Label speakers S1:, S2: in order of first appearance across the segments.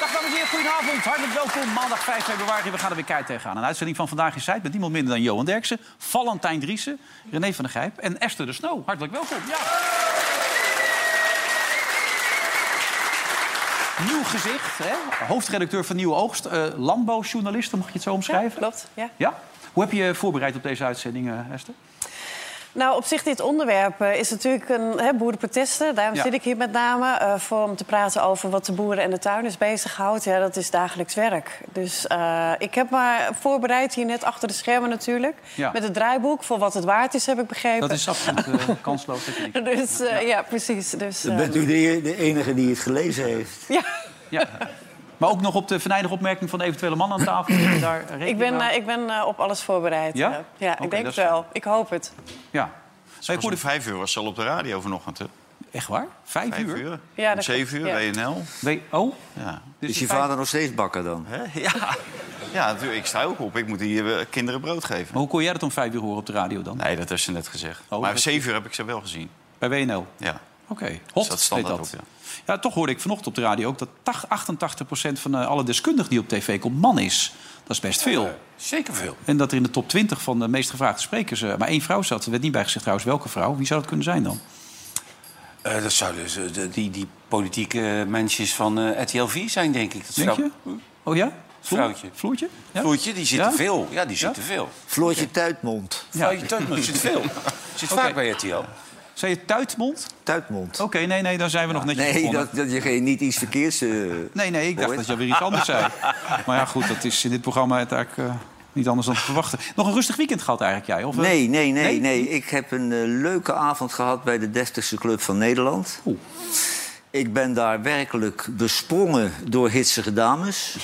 S1: Dag dames en heren, goedenavond. Hartelijk welkom. Maandag 5 februari, we gaan er weer keihard tegenaan. Een uitzending van Vandaag in Zuid met niemand minder dan Johan Derksen... Valentijn Driessen, René van der Gijp en Esther de Snow. Hartelijk welkom. Ja. Nieuw gezicht, hè? hoofdredacteur van Nieuwe Oogst. eh landbouwjournaliste, mag je het zo omschrijven?
S2: Klopt, ja.
S1: Ja? Hoe heb je je voorbereid op deze uitzending, eh, Esther?
S2: Nou, op zich dit onderwerp eh, is natuurlijk een hè, boerenprotesten. Daarom
S1: Ja.
S2: zit ik hier met name eh, voor om te praten over wat de boeren en de tuinders bezighoudt. Ja, dat is dagelijks werk. Dus eh, ik heb me voorbereid hier net achter de schermen natuurlijk.
S1: Ja.
S2: Met het draaiboek voor wat het waard is, heb ik begrepen.
S1: Dat is absoluut eh, kansloos. dat je niks-
S2: Dus eh, ja. precies. Dus,
S3: Dan
S2: eh,
S3: bent u de, de enige die het gelezen heeft.
S2: ja.
S1: Ja. Maar ook nog op de venijnige opmerking van de eventuele man aan tafel. Heb je Daar rekening
S2: Ik ben,
S1: mee?
S2: eh, ik ben eh, op alles voorbereid.
S1: Ja?
S2: eh. ja
S1: Oké,
S2: ik denk
S1: dat
S2: het
S1: is
S2: wel. Ik hoop het.
S1: Ja. Maar ik
S4: Ik hoorde
S1: hoorde...
S4: vijf uur was ze al op de radio vanochtend. Hè?
S1: Echt waar? Vijf,
S4: Vijf
S1: uur?
S4: uur?
S2: Ja,
S4: Om
S2: dat
S4: zeven uur,
S2: klopt, ja.
S4: WNL.
S1: We- oh,
S4: Ja.
S1: dus
S3: Is
S1: die
S3: je
S1: vijf-
S3: vader nog steeds bakker dan?
S4: Hè? Ja. ja, natuurlijk. Ik sta ook op. Ik moet hier eh, kinderen brood geven.
S1: Maar hoe kon jij dat om vijf uur horen op de radio dan?
S4: Nee, dat heeft ze net gezegd.
S1: dat
S4: maar
S1: heb
S4: om
S1: ik-
S4: zeven uur heb ik ze wel gezien.
S1: Bij WNL?
S4: Ja.
S1: Oké, hot
S4: dat standaard
S1: heet dat.
S4: ook,
S1: ja. toch hoorde ik vanochtend op de radio ook... dat 8- 88% van eh, alle deskundigen die op tv komt man is. Dat is best veel.
S5: Zeker veel.
S1: En dat er in de top 20 van de meest gevraagde sprekers... eh, maar één vrouw zat. Er werd niet bij gezegd trouwens welke vrouw. Wie zou dat kunnen zijn dan?
S5: Eh, dat zouden dus, eh, de- die, die politieke mensjes van eh RTLV zijn, denk ik. Dat
S1: Denk
S5: vrouw-
S1: je? Oh ja? Vloer-
S5: Vrouwtje.
S1: Vloertje? Ja?
S5: Vloertje, die zit
S1: Ja?
S5: te veel. Ja, die zit te veel.
S3: Floortje Tuitmond.
S5: Vrouwtje Teutman zit veel. Zit
S1: Oké.
S5: vaak bij RTL.
S1: Zei je tuitmond?
S3: Tuitmond.
S1: Oké, nee, nee, daar zijn we nog netjes
S3: nee,
S1: begonnen.
S3: dat, dat je geen, niet iets verkeers... eh,
S1: Nee, nee, ik dacht
S3: Hoor.
S1: dat jij weer iets anders zei. Maar ja, goed, dat is in dit programma eigenlijk eh, niet anders dan te verwachten. Nog een rustig weekend gehad eigenlijk jij? Of, eh?
S3: Nee, nee, nee,
S1: Nee?
S3: nee, Ik heb een eh, leuke avond gehad bij de 30ste Club van Nederland.
S1: Oeh.
S3: Ik ben daar werkelijk besprongen door hitsige dames.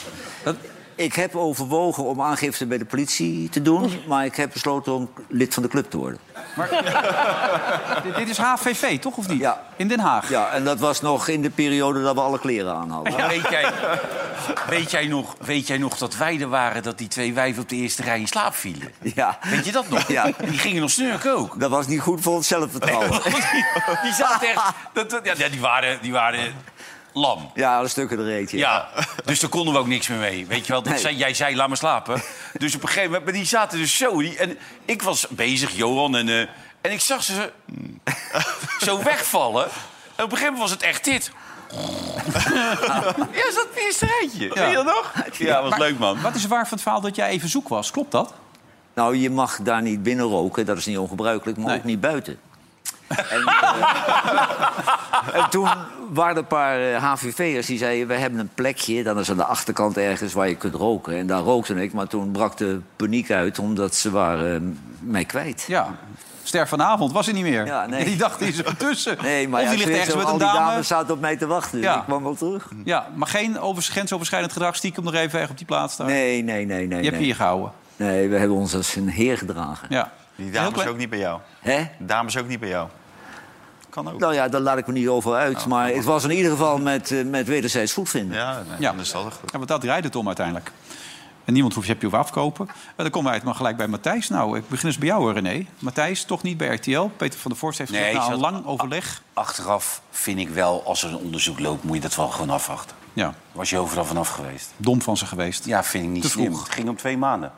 S1: Dat-
S3: Ik heb overwogen om aangifte bij de politie te doen... maar ik heb besloten om lid van de club te worden.
S1: Dit, dit is HVV, toch of niet?
S3: Ja.
S1: In Den Haag.
S3: Ja, en dat was nog in de periode dat we alle kleren aan hadden.
S5: Maar Weet, jij, weet, jij nog, weet jij nog dat wij er waren dat die twee wijven op de eerste rij in slaap vielen?
S3: Ja.
S5: Weet je dat nog?
S3: Ja.
S5: Die gingen nog snurken ook.
S3: Dat was niet goed voor ons zelfvertrouwen.
S5: Die zaten echt... Dat, dat- ja, die, waren, die waren lam.
S3: Ja, alle stukken er eentje.
S5: Ja, dus daar konden we ook niks meer mee. Weet je wel, dat
S3: Nee.
S5: zei, jij zei, laat maar slapen. Dus op een gegeven moment, maar die zaten dus zo. Die, en ik was bezig, Johan, en, eh, en ik zag ze zo wegvallen. En op een gegeven moment was het echt dit.
S4: Ja, is dat het eerste rijtje?
S1: Ja.
S4: Weet je dat nog? Ja, was leuk, man.
S1: Wat is waar van het verhaal dat jij even zoek was? Klopt dat?
S3: Nou, je mag daar niet binnen roken, dat is niet ongebruikelijk, maar
S1: Nee.
S3: ook niet buiten. En, eh, en toen waren er een paar eh, HVV'ers die zeiden... we hebben een plekje, dat is aan de achterkant ergens waar je kunt roken. En daar rookte ik, maar toen brak de paniek uit... omdat ze waren eh, mij kwijt.
S1: Ja. Ster vanavond was er niet meer.
S3: Ja, nee.
S1: Die dacht die is er tussen.
S3: Nee, maar
S1: of
S3: ja,
S1: die ligt
S3: serieus,
S1: ergens met
S3: al
S1: een
S3: die
S1: dame.
S3: dames zaten op mij te wachten. Dus
S1: Ja.
S3: ik kwam wel terug.
S1: Ja, maar geen over, grensoverschrijdend gedrag. Stiekem nog even erg op die plaats staan.
S3: Nee, nee, nee,
S1: je
S3: nee.
S1: hebt je
S3: Nee.
S1: hier gehouden.
S3: nee, we hebben ons als een heer gedragen.
S1: Ja.
S4: Die
S1: Heel
S4: dames
S1: klein-
S4: ook niet bij jou.
S3: Hè?
S4: Dames ook niet bij jou. Kan ook.
S3: Nou ja, daar laat ik me niet over uit.
S5: Nou,
S3: maar het was in ieder geval met, eh, met wederzijds goedvinden.
S4: Ja, nee,
S1: Ja.
S4: dan is dat wel goed.
S1: Ja, want dat draait het om uiteindelijk. En niemand hoeft je heb je hoeven afkopen. Eh, dan komen we uit, maar gelijk bij Matthijs. Nou, ik begin eens bij jou, hoor, René. Matthijs, toch niet bij RTL. Peter van der Vorst heeft
S5: Nee,
S1: gezegd,
S5: ik
S1: na een
S5: zat-
S1: lang overleg...
S5: Achteraf vind ik wel, als er een onderzoek loopt, moet je dat wel gewoon afwachten.
S1: Ja,
S5: Was je overal vanaf geweest?
S1: dom van ze geweest. Ja.
S5: Ja, vind ik niet
S1: Te
S5: slim.
S1: vroeg.
S5: Het ging om twee maanden.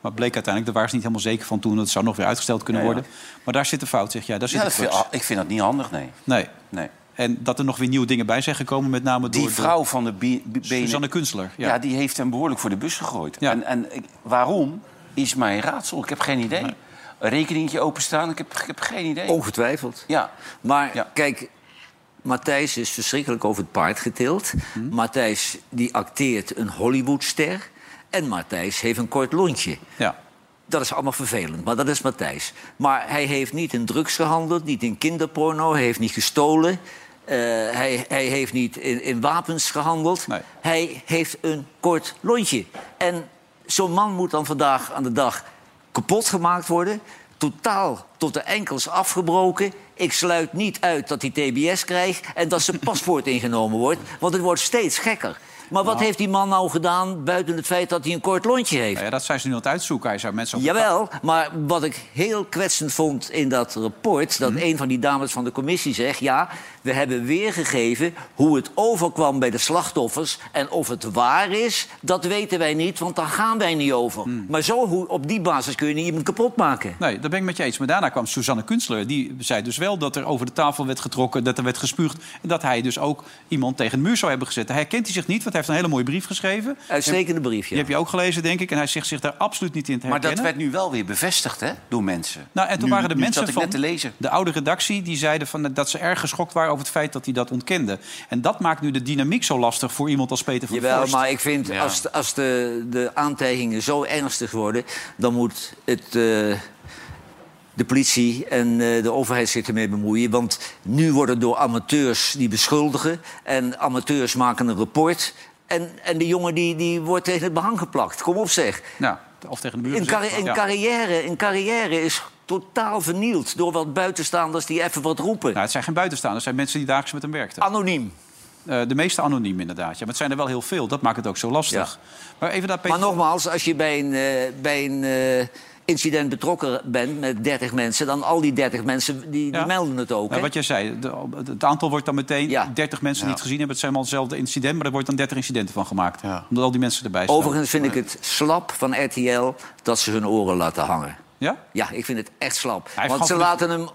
S1: maar bleek uiteindelijk, daar waren ze niet helemaal zeker van toen. Dat zou nog weer uitgesteld kunnen
S5: Ja, ja.
S1: worden. Maar daar zit de fout, zeg jij. Daar zit
S5: Ja,
S1: de
S5: dat vind-
S1: crux.
S5: ah, ik vind dat niet handig, nee.
S1: Nee.
S5: nee.
S1: En dat er nog weer nieuwe dingen bij zijn gekomen, met name door...
S5: Die vrouw van de B- B-
S1: Door
S5: BNN
S1: Suzanne Kunstler. Ja.
S5: Ja. die heeft hem behoorlijk voor de bus gegooid.
S1: Ja.
S5: En, en ik- waarom is mijn raadsel? Ik heb geen idee. Een rekeningetje openstaan, ik heb, ik heb geen idee.
S1: Oh.
S3: Ongetwijfeld.
S5: Ja.
S3: Maar
S5: Ja.
S3: kijk, Matthijs is verschrikkelijk over het paard getild.
S5: Mhm.
S3: Matthijs die acteert een Hollywoodster. En Matthijs heeft een kort lontje.
S1: ja.
S3: Dat is allemaal vervelend, maar dat is Matthijs. Maar hij heeft niet in drugs gehandeld, niet in kinderporno, hij heeft niet gestolen. Eh, hij, hij heeft niet in, in wapens gehandeld.
S1: Nee.
S3: Hij heeft een kort lontje. En zo'n man moet dan vandaag aan de dag kapot gemaakt worden. Totaal tot de enkels afgebroken. Ik sluit niet uit dat hij TBS krijgt en dat zijn paspoort ingenomen wordt. Want het wordt steeds gekker. Maar wat heeft die man nou gedaan buiten het feit dat hij een kort lontje heeft?
S1: Nou ja, dat zijn ze nu aan het uitzoeken. Hij zou mensen op-
S3: Jawel, maar wat ik heel kwetsend vond in dat rapport... dat
S1: Mhm.
S3: een van die dames van de commissie zegt... ja, we hebben weergegeven hoe het overkwam bij de slachtoffers... en of het waar is, dat weten wij niet, want daar gaan wij niet over.
S1: Mhm.
S3: Maar zo hoe, op die basis kun je niet iemand kapot maken.
S1: Nee, daar ben ik met je eens. Maar daarna kwam Suzanne Kunstler. Die zei dus wel dat er over de tafel werd getrokken, dat er werd gespuugd. En dat hij dus ook iemand tegen de muur zou hebben gezet. Hij herkent hij zich niet, want hij heeft een hele mooie brief geschreven.
S3: Uitstekende brief,
S1: Die
S3: ja.
S1: heb je ook gelezen, denk ik. En hij zegt zich daar absoluut niet in te
S5: Maar
S1: herkennen.
S5: dat werd nu wel weer bevestigd, hè? Door mensen.
S1: Nou, en toen
S5: Nu-
S1: waren de
S5: nu
S1: mensen
S5: zat ik
S1: van
S5: net te lezen.
S1: de oude redactie... die zeiden van, eh, dat ze erg geschokt waren over het feit dat hij dat ontkende. En dat maakt nu de dynamiek zo lastig voor iemand als Peter van der
S3: Jawel,
S1: Vorst.
S3: maar ik vind als, de- als de, de aantijgingen zo ernstig worden, dan moet het. eh, de politie en eh, de overheid zich ermee bemoeien. Want nu worden door amateurs die beschuldigen. En amateurs maken een rapport. En, en de jongen die, die wordt tegen het behang geplakt. Kom op zeg.
S1: Nou, of tegen de muur
S3: Een,
S1: gezet.
S3: carri- een
S1: Ja.
S3: carrière, een carrière is totaal vernield door wat buitenstaanders die even wat roepen.
S1: Nou, het zijn geen buitenstaanders, het zijn mensen die dagelijks met hem werkten.
S3: Anoniem.
S1: Eh, de meeste anoniem inderdaad. Ja, maar het zijn er wel heel veel. Dat maakt het ook zo lastig. Maar even naar Peter.
S3: Maar nogmaals, als je bij een, eh, bij een eh, incident betrokken bent met 30 mensen, dan al die 30 mensen die, die
S1: Ja.
S3: melden het ook.
S1: Nou,
S3: hè?
S1: wat jij zei, de- het aantal wordt dan meteen
S3: Ja.
S1: 30 mensen die het gezien hebben. Het zijn allemaal hetzelfde incident, maar er wordt dan 30 incidenten van gemaakt.
S4: Ja.
S1: Omdat al die mensen erbij staan.
S3: Overigens vind ik het slap van RTL dat ze hun oren laten hangen.
S1: Ja?
S3: Ja, ik vind het echt slap.
S1: heeft
S3: Want ze
S1: gewoon
S3: laten hem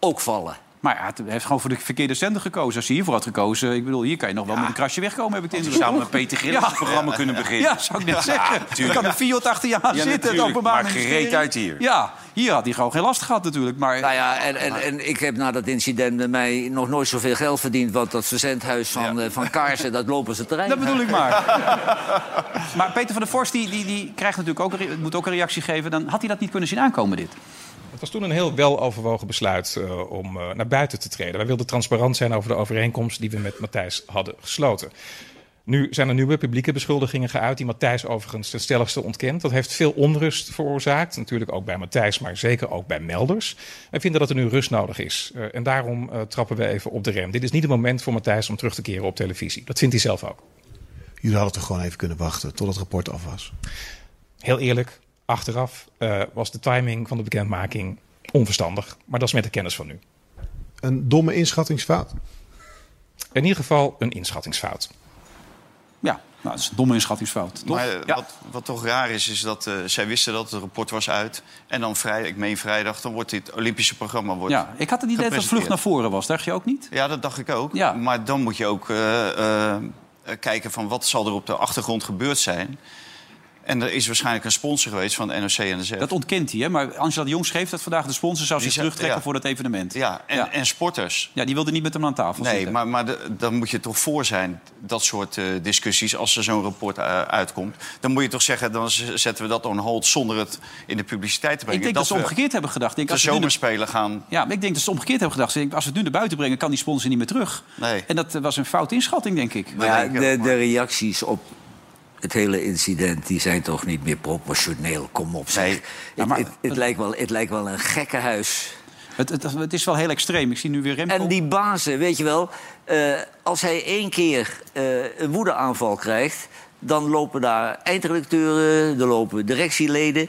S3: ook vallen.
S1: Maar ja, het- hij heeft gewoon voor de verkeerde zender gekozen. Als hij hiervoor had gekozen, ik bedoel, hier kan je nog wel met een krasje wegkomen, heb ik de
S5: Die
S1: indruk.
S5: zou met Peter Gillis
S1: Ja.
S5: een programma kunnen beginnen.
S1: Ja, zou ik net zeggen. Er
S5: tuurlijk.
S1: kan een Fiat achter je aan
S5: Ja,
S1: zitten. Het
S5: natuurlijk.
S1: openbaar
S5: Maak gereed
S1: ministerie.
S5: uit hier.
S1: Ja, hier had hij gewoon geen last gehad natuurlijk. Maar
S3: Nou ja, en, en, en ik heb na dat incident met mij nog nooit zoveel geld verdiend... want dat verzendhuis van, eh, van Kaarsen, dat lopen ze terrein.
S1: Dat bedoel ik maar. maar Peter van der Vorst die, die, die krijgt natuurlijk ook, een re- moet ook een reactie geven. Dan had hij dat niet kunnen zien aankomen, dit.
S6: Het was toen een heel weloverwogen besluit eh, om eh, naar buiten te treden. Wij wilden transparant zijn over de overeenkomst die we met Matthijs hadden gesloten. Nu zijn er nieuwe publieke beschuldigingen geuit, die Matthijs overigens ten stelligste ontkent. Dat heeft veel onrust veroorzaakt, natuurlijk ook bij Matthijs, maar zeker ook bij melders. Wij vinden dat er nu rust nodig is Eh, en daarom eh, trappen we even op de rem. Dit is niet het moment voor Matthijs om terug te keren op televisie. Dat vindt hij zelf ook.
S7: Jullie hadden toch gewoon even kunnen wachten tot het rapport af was?
S6: Heel eerlijk, achteraf eh, was de timing van de bekendmaking onverstandig, maar dat is met de kennis van nu.
S7: Een domme inschattingsfout?
S6: In ieder geval een inschattingsfout.
S1: Ja, nou, dat is een domme inschattingsfout. Toch?
S4: Maar eh, wat, wat toch raar is, is dat eh, zij wisten dat het rapport was uit. En dan vrij, ik meen vrijdag, dan wordt dit Olympische programma... Wordt,
S1: ja, ik had het idee dat het vlucht
S4: gepresenteerd.
S1: naar voren was. Dacht je ook niet?
S4: Ja, dat dacht ik ook.
S1: Ja.
S4: Maar dan moet je ook eh, eh, kijken van wat zal er op de achtergrond gebeurd zijn. En er is waarschijnlijk een sponsor geweest van de NOC en de
S1: Dat ontkent hij, hè? Maar Angela de Jong schreef dat vandaag. De sponsor zou
S4: Die
S1: zich
S4: zei-
S1: terugtrekken
S4: ja.
S1: voor dat evenement.
S4: Ja, en,
S1: Ja.
S4: en sporters.
S1: Ja, die wilde niet met hem aan tafel
S4: Nee,
S1: zitten.
S4: maar, maar de- dan moet je toch voor zijn, dat soort eh, discussies, als er zo'n rapport eh, uitkomt. Dan moet je toch zeggen, dan z- zetten we dat on hold zonder het in de publiciteit te
S1: ik
S4: brengen.
S1: denk dat ze
S4: we
S1: omgekeerd hebben gedacht. Ik Denk,
S4: de
S1: als we nu de-
S4: zomerspelen gaan.
S1: ja, maar ik denk dat ze omgekeerd hebben gedacht. Ze denken, Als we het nu naar buiten brengen, kan die sponsor niet meer terug.
S4: Nee.
S1: En dat eh, was een fout inschatting, denk ik.
S3: Maar ja, de, de reacties op het hele incident die zijn toch niet meer proportioneel. Kom op, zeg.
S4: Nee.
S3: Het-
S1: maar-
S3: het, het, lijkt wel, het lijkt wel een gekkenhuis.
S1: Het, het, het is wel heel extreem. Ik zie nu weer Remco. Nou,
S3: En die bazen, weet je wel, eh, als hij één keer eh, een woedeaanval krijgt, dan lopen daar eindredacteuren, er lopen directieleden.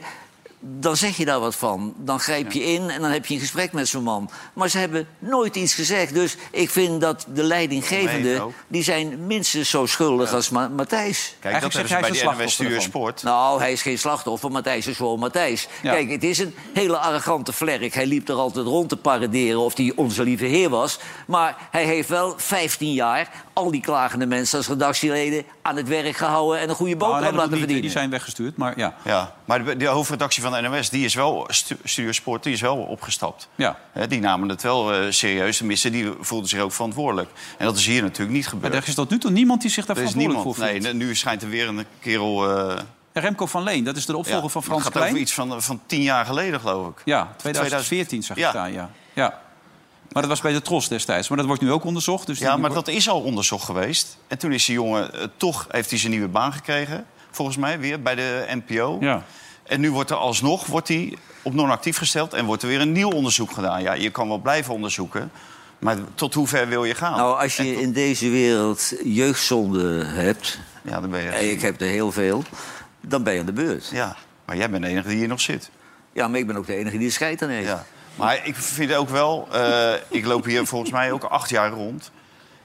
S3: Dan zeg je daar wat van. Dan grijp je in en dan heb je een gesprek met zo'n man. Maar ze hebben nooit iets gezegd. Dus ik vind dat de
S4: Nee,
S3: leidinggevenden...
S4: ook.
S3: die zijn minstens zo schuldig als Ma- Matthijs.
S4: Kijk,
S1: Eigenlijk
S4: dat
S1: zeg
S4: hebben
S1: jij
S4: ze
S1: is
S4: bij
S1: een slachtoffer
S4: de NWS Stuur
S1: ervan.
S4: Sport.
S3: Nou, hij is geen slachtoffer. Matthijs is gewoon Matthijs.
S1: Ja.
S3: Kijk, het is een hele arrogante vlerk. Hij liep er altijd rond te paraderen of hij onze lieve heer was. Maar hij heeft wel 15 jaar al die klagende mensen als redactieleden aan het werk gehouden en een goede
S1: Nou, een heleboel
S3: boterham laten
S1: niet,
S3: verdienen.
S1: Die zijn weggestuurd, maar ja.
S4: Ja, maar de, de hoofdredactie van de NOS, die is wel, stu- Studio Sport, die is wel opgestapt.
S1: Ja.
S4: Hè, die namen het wel eh, serieus. Tenminste, die voelden zich ook verantwoordelijk. En dat is hier natuurlijk niet
S1: Maar
S4: gebeurd.
S1: er is tot nu toe niemand die zich daar
S4: er is
S1: verantwoordelijk voor
S4: niemand.
S1: voelt.
S4: Nee, ne- nu schijnt er weer een kerel... eh
S1: En Remco van Leen, dat is de opvolger van
S4: het
S1: Frans
S4: gaat over eh,
S1: Klein.
S4: iets van, van tien jaar geleden, geloof ik.
S1: Ja, 2014 zag ik
S4: Ja.
S1: staan, ja. ja. Maar dat was bij de Tros destijds. Maar dat wordt nu ook onderzocht. Dus die-
S4: Ja, maar dat is al onderzocht geweest. En toen is die jongen eh, toch heeft hij zijn nieuwe baan gekregen. Volgens mij weer bij de NPO.
S1: Ja.
S4: En nu wordt er alsnog wordt hij op non-actief gesteld en wordt er weer een nieuw onderzoek gedaan. Ja, je kan wel blijven onderzoeken, maar tot hoe ver wil je gaan?
S3: Nou, als je in deze wereld jeugdzonde hebt,
S4: Ja, dan ben je.
S3: en ik heb er heel veel, dan ben je aan de beurt.
S4: Ja, maar jij bent de enige die hier nog zit.
S3: Ja, maar ik ben ook de enige die er scheid aan heeft.
S4: Ja. Maar ik vind ook wel, eh, ik loop hier volgens mij ook acht jaar rond.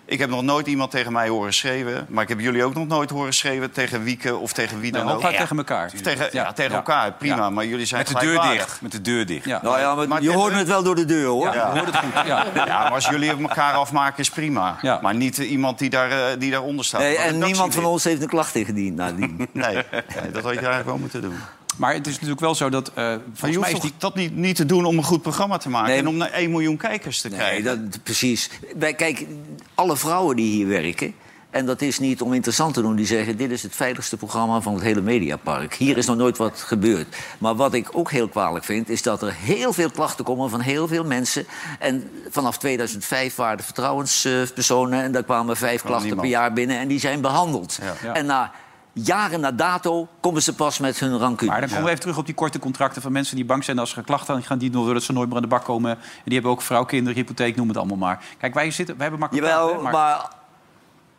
S4: Ik heb nog nooit iemand tegen mij horen schreeuwen. Maar ik heb jullie ook nog nooit horen schreeuwen tegen Wieke of tegen wie dan
S1: Nee,
S4: ook.
S1: elkaar Nou, tegen elkaar.
S4: Of tegen, ja, tegen elkaar, prima.
S1: Ja.
S4: Maar jullie zijn
S5: Met de deur
S4: gelijkwaardig.
S5: dicht. Met de deur dicht.
S1: Ja.
S3: Nou ja, maar,
S4: Maar
S3: je
S4: dit-
S3: hoort het wel door de deur, hoor.
S1: Ja, je hoort het goed. Ja.
S4: Ja, maar als jullie elkaar afmaken is prima.
S1: Ja.
S4: Maar niet eh, iemand die, daar, eh, die daaronder staat.
S3: Nee,
S4: Maar
S3: en
S4: redactie
S3: niemand van
S4: weer.
S3: ons heeft een klacht ingediend nadien.
S4: Nee, nee, dat had je eigenlijk wel moeten doen.
S1: Maar het is natuurlijk wel zo dat... eh,
S4: Maar je
S1: volgens mij
S4: hoeft
S1: is
S4: toch
S1: die...
S4: dat niet, niet te doen om een goed programma te maken...
S3: Nee.
S4: en om naar 1 miljoen kijkers te
S3: Nee,
S4: krijgen.
S3: dat, precies. Wij, kijk, alle vrouwen die hier werken... en dat is niet om interessant te doen, die zeggen... dit is het veiligste programma van het hele mediapark. Hier is nog nooit wat gebeurd. Maar wat ik ook heel kwalijk vind... is dat er heel veel klachten komen van heel veel mensen. En vanaf 2005 waren de vertrouwenspersonen... en daar kwamen vijf klachten
S4: niemand.
S3: per jaar binnen en die zijn behandeld.
S1: Ja.
S3: En na jaren na dato komen ze pas met hun rancune.
S1: Maar dan komen we even terug op die korte contracten van mensen die bang zijn als ze geklacht aan gaan. Die nog willen dat ze nooit meer aan de bak komen. En die hebben ook vrouw, kinderen, hypotheek, noem het allemaal maar. Kijk, wij, zitten, wij hebben makkelijk praten,
S3: Jawel,
S1: hè,
S3: maar...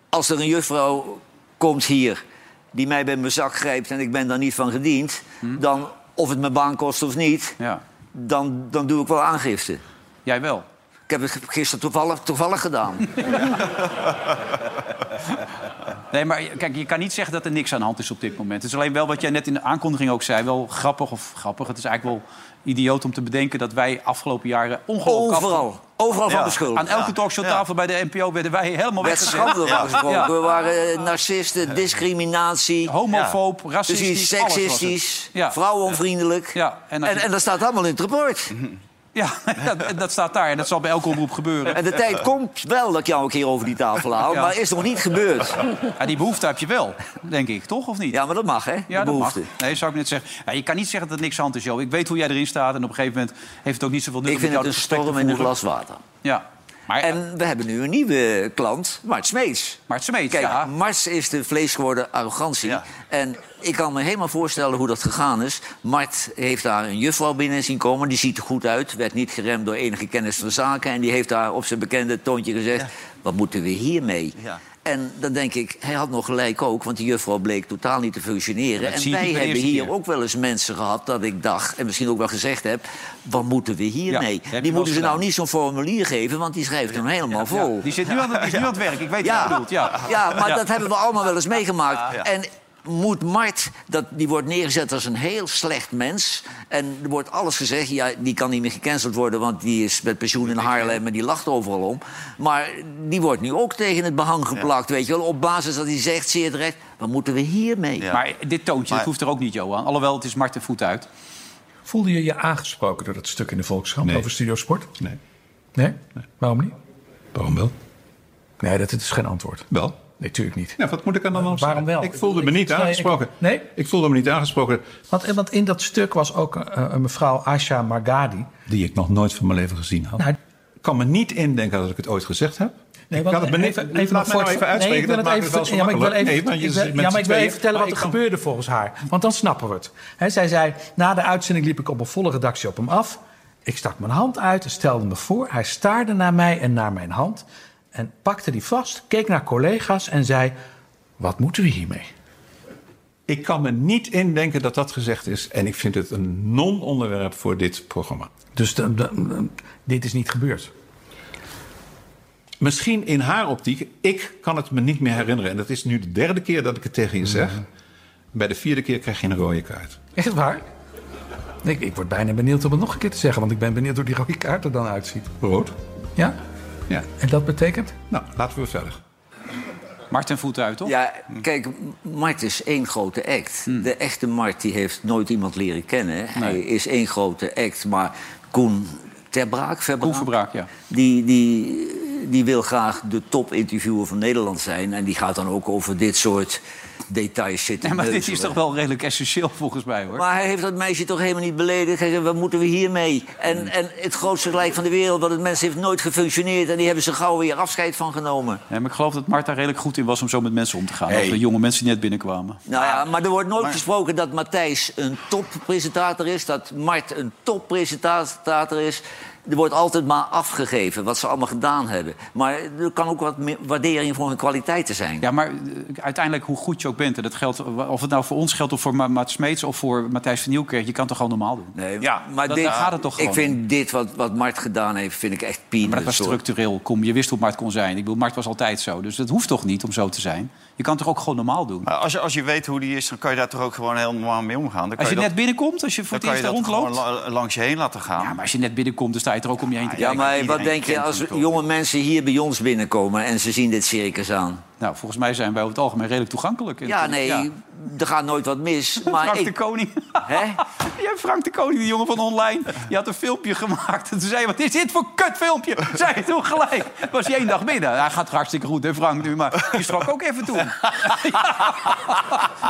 S3: als er een juffrouw komt hier die mij bij mijn zak grijpt en ik ben daar niet van gediend, dan of het mijn baan kost of niet,
S1: Hm? Ja,
S3: dan, dan doe ik wel aangifte.
S1: jij wel.
S3: Ik heb het ge- gisteren toevallig, toevallig gedaan.
S1: Nee, maar kijk, je kan niet zeggen dat er niks aan de hand is op dit moment. Het is alleen wel wat jij net in de aankondiging ook zei. Wel grappig of grappig. Het is eigenlijk wel idioot om te bedenken dat wij afgelopen jaren ongelooflijk...
S3: Overal, overal van beschuldigd.
S1: Oh, Aan elke talkshowtafel bij de NPO werden wij helemaal
S3: Werd
S1: weggezet.
S3: schande van gesproken.
S1: Ja.
S3: We waren eh, narcisten, discriminatie.
S1: Homofoob,
S3: Dus
S1: racistisch,
S3: die
S1: alles was het.
S3: seksistisch,
S1: Ja.
S3: vrouwonvriendelijk.
S1: Ja, en
S3: en,
S1: als
S3: en,
S1: je-
S3: dat staat allemaal in het rapport.
S1: Ja, dat, dat staat daar en dat zal bij elke omroep gebeuren.
S3: En de tijd komt wel dat ik jou een keer over die tafel haal,
S1: Ja.
S3: maar is nog niet gebeurd.
S1: Ja, die behoefte heb je wel, denk ik, toch of niet?
S3: Ja, maar dat mag, hè?
S1: Ja,
S3: de
S1: dat mag.
S3: behoefte.
S1: Nee, zou ik net zeggen. Ja, je kan niet zeggen dat er niks aan de hand is, joh. Ik weet hoe jij erin staat en op een gegeven moment heeft het ook niet zoveel nut
S3: Ik
S1: om
S3: vind
S1: met
S3: het
S1: jou dat gesprek
S3: een storm
S1: te
S3: in een
S1: voeren.
S3: glas water.
S1: Ja, maar,
S3: En we hebben nu een nieuwe klant, Mart Smeets.
S1: maar het smeet,
S3: Kijk,
S1: ja.
S3: Mart is de vlees geworden arrogantie.
S4: Ja.
S3: En ik kan me helemaal voorstellen hoe dat gegaan is. Mart heeft daar een juffrouw binnen zien komen. Die ziet er goed uit. Werd niet geremd door enige kennis van zaken. En die heeft daar op zijn bekende toontje gezegd... wat moeten we hiermee?
S4: Ja.
S3: En dan denk ik, hij had nog gelijk ook, want die juffrouw bleek totaal niet te functioneren.
S1: dat
S3: En
S1: zie je
S3: wij
S1: niet bij de
S3: hebben
S1: eerste
S3: hier
S1: keer.
S3: ook wel eens mensen gehad dat ik dacht, en misschien ook wel gezegd heb, wat moeten we hiermee?
S1: heb je wel
S3: die moeten ze
S1: gedaan.
S3: nou niet zo'n formulier geven, want die schrijft hem helemaal vol.
S1: Ja, die zit nu aan, het- die is nu aan het werk, ik weet wat je bedoelt. Ja.
S3: Ja, maar
S1: Ja.
S3: dat hebben we allemaal wel eens meegemaakt. En moet Mart, dat, die wordt neergezet als een heel slecht mens. En er wordt alles gezegd, ja, die kan niet meer gecanceld worden... want die is met pensioen in Haarlem en die lacht overal om. Maar die wordt nu ook tegen het behang geplakt, weet je wel. Op basis dat hij zegt, zeer terecht, wat moeten we hiermee?
S4: Ja.
S1: Maar dit toontje, dat
S4: Maar-
S1: hoeft er ook niet, Johan. Alhoewel, het is Mart de voet uit.
S8: Voelde je je aangesproken door dat stuk in de Volkskrant over Studio Sport?
S9: Nee.
S8: Nee? Waarom niet?
S9: Waarom wel?
S8: Nee, dat is geen antwoord.
S9: Wel.
S8: Nee, natuurlijk niet.
S9: Ja, wat moet ik aan de hand
S8: waarom wel?
S9: Ik voelde me
S8: Ik-
S9: niet
S8: nee, ik-
S9: aangesproken.
S8: nee?
S9: Ik voelde me niet aangesproken.
S8: Want, eh, want in dat stuk was ook eh, een mevrouw Asha Margadi.
S9: Die ik nog nooit van mijn leven gezien had.
S8: Nou,
S9: ik kan me niet indenken dat ik het ooit gezegd heb. ik
S8: want eh,
S9: kan het me niet,
S8: even- even
S9: laat
S8: nog
S9: mij
S8: voort-
S9: nou even
S8: Nee, ik
S9: uitspreken.
S8: wil het
S9: dat maakt
S8: even-
S9: het wel zo
S8: ja, maar ik wil
S9: makkelijk.
S8: even,
S9: Nee, want je
S8: ik
S9: zit
S8: wil-
S9: met
S8: ja, maar
S9: z'n
S8: ik wil
S9: tweeën.
S8: even vertellen
S9: Maar
S8: wat er
S9: ik kan-
S8: gebeurde volgens haar. Want dan snappen we het. Hè, zij zei, na de uitzending liep ik op een volle redactie op hem af. Ik stak mijn hand uit en stelde me voor. Hij staarde naar mij en naar mijn hand. En pakte die vast, keek naar collega's en zei... Wat moeten we hiermee?
S9: Ik kan me niet indenken dat dat gezegd is. En ik vind het een non-onderwerp voor dit programma.
S8: Dus de- de- de- dit is niet gebeurd.
S9: Misschien in haar optiek, ik kan het me niet meer herinneren. En dat is nu de derde keer dat ik het tegen je zeg. Bij de vierde keer krijg je een rode kaart.
S8: Echt waar? Ik, ik word bijna benieuwd om het nog een keer te zeggen, want ik ben benieuwd hoe die rode kaart er dan uitziet.
S9: Rood?
S8: Ja?
S9: Ja.
S8: En dat betekent?
S9: Nou, laten we verder.
S1: Mart en voet uit, toch?
S3: Ja, kijk, Mart is één grote act.
S1: Hmm.
S3: De echte Mart die heeft nooit iemand leren kennen. Hij is één grote act, maar Koen Terbraak, Verbraak,
S1: Koen Verbraak, ja.
S3: Die, die, die wil graag de top-interviewer van Nederland zijn. En die gaat dan ook over dit soort details zitten.
S1: Nee, maar dit is
S3: neuzelen.
S1: toch wel redelijk essentieel volgens mij, hoor.
S3: Maar hij heeft dat meisje toch helemaal niet beledigd. Hij zei, wat moeten we hiermee?
S1: Hmm.
S3: En, en het grootste gelijk van de wereld, want het mens heeft nooit gefunctioneerd... en die hebben ze gauw weer afscheid van genomen.
S1: Nee, maar ik geloof dat Marta redelijk goed in was om zo met mensen om te gaan. Of de jonge mensen die net binnenkwamen.
S3: Nou ja, maar er wordt nooit gesproken dat Matthijs een toppresentator is... dat Mart een toppresentator is. Er wordt altijd maar afgegeven wat ze allemaal gedaan hebben. Maar er kan ook wat meer waardering voor hun kwaliteiten zijn.
S1: Ja, maar eh, uiteindelijk, hoe goed je ook bent... en dat geldt, of het nou voor ons geldt of voor Ma- Maat Smeets... of voor Matthijs van Nieuwkerk, je kan toch gewoon normaal doen?
S3: Nee,
S5: Ja,
S3: maar
S1: dat-
S3: dit,
S1: daar gaat het toch
S3: ik
S1: gewoon
S3: vind dit wat, wat Mart gedaan heeft, vind ik echt
S1: Maar
S3: peanuts.
S4: Dus
S1: dat was
S3: hoor.
S1: structureel. Kom, je wist hoe Mart kon zijn. Ik bedoel, Mart was altijd zo. Dus dat hoeft toch niet om zo te zijn? Je kan toch ook gewoon normaal doen?
S4: Maar als je, als je weet hoe die is, dan kan je daar toch ook gewoon heel normaal mee omgaan. Dan kan
S1: Als je
S4: dat,
S1: net binnenkomt, als je voor
S4: dan
S1: het
S4: kan je
S1: eerst daar
S4: dat
S1: rondloopt...
S4: gewoon la- Ah, langs je heen laten gaan.
S1: Ja, maar als je net binnenkomt, dan sta je er ook om je heen te kijken.
S3: Ja, maar wat
S4: Iedereen
S3: denk je
S4: kent
S3: als
S4: hem toch?
S3: jonge mensen hier bij ons binnenkomen... en ze zien dit circus aan?
S1: Nou, volgens mij zijn wij over het algemeen redelijk toegankelijk.
S3: Ja, nee, er gaat nooit wat mis. Maar
S1: Frank de
S3: ik,
S1: Koning.
S3: hè?
S1: Jij Frank de Koning, die jongen van online. Je had een filmpje gemaakt. En toen zei je, wat is dit voor kutfilmpje? Zei je toen gelijk. Was je één dag binnen. Hij gaat hartstikke goed, hè Frank nu. Maar die schrok ook even toen.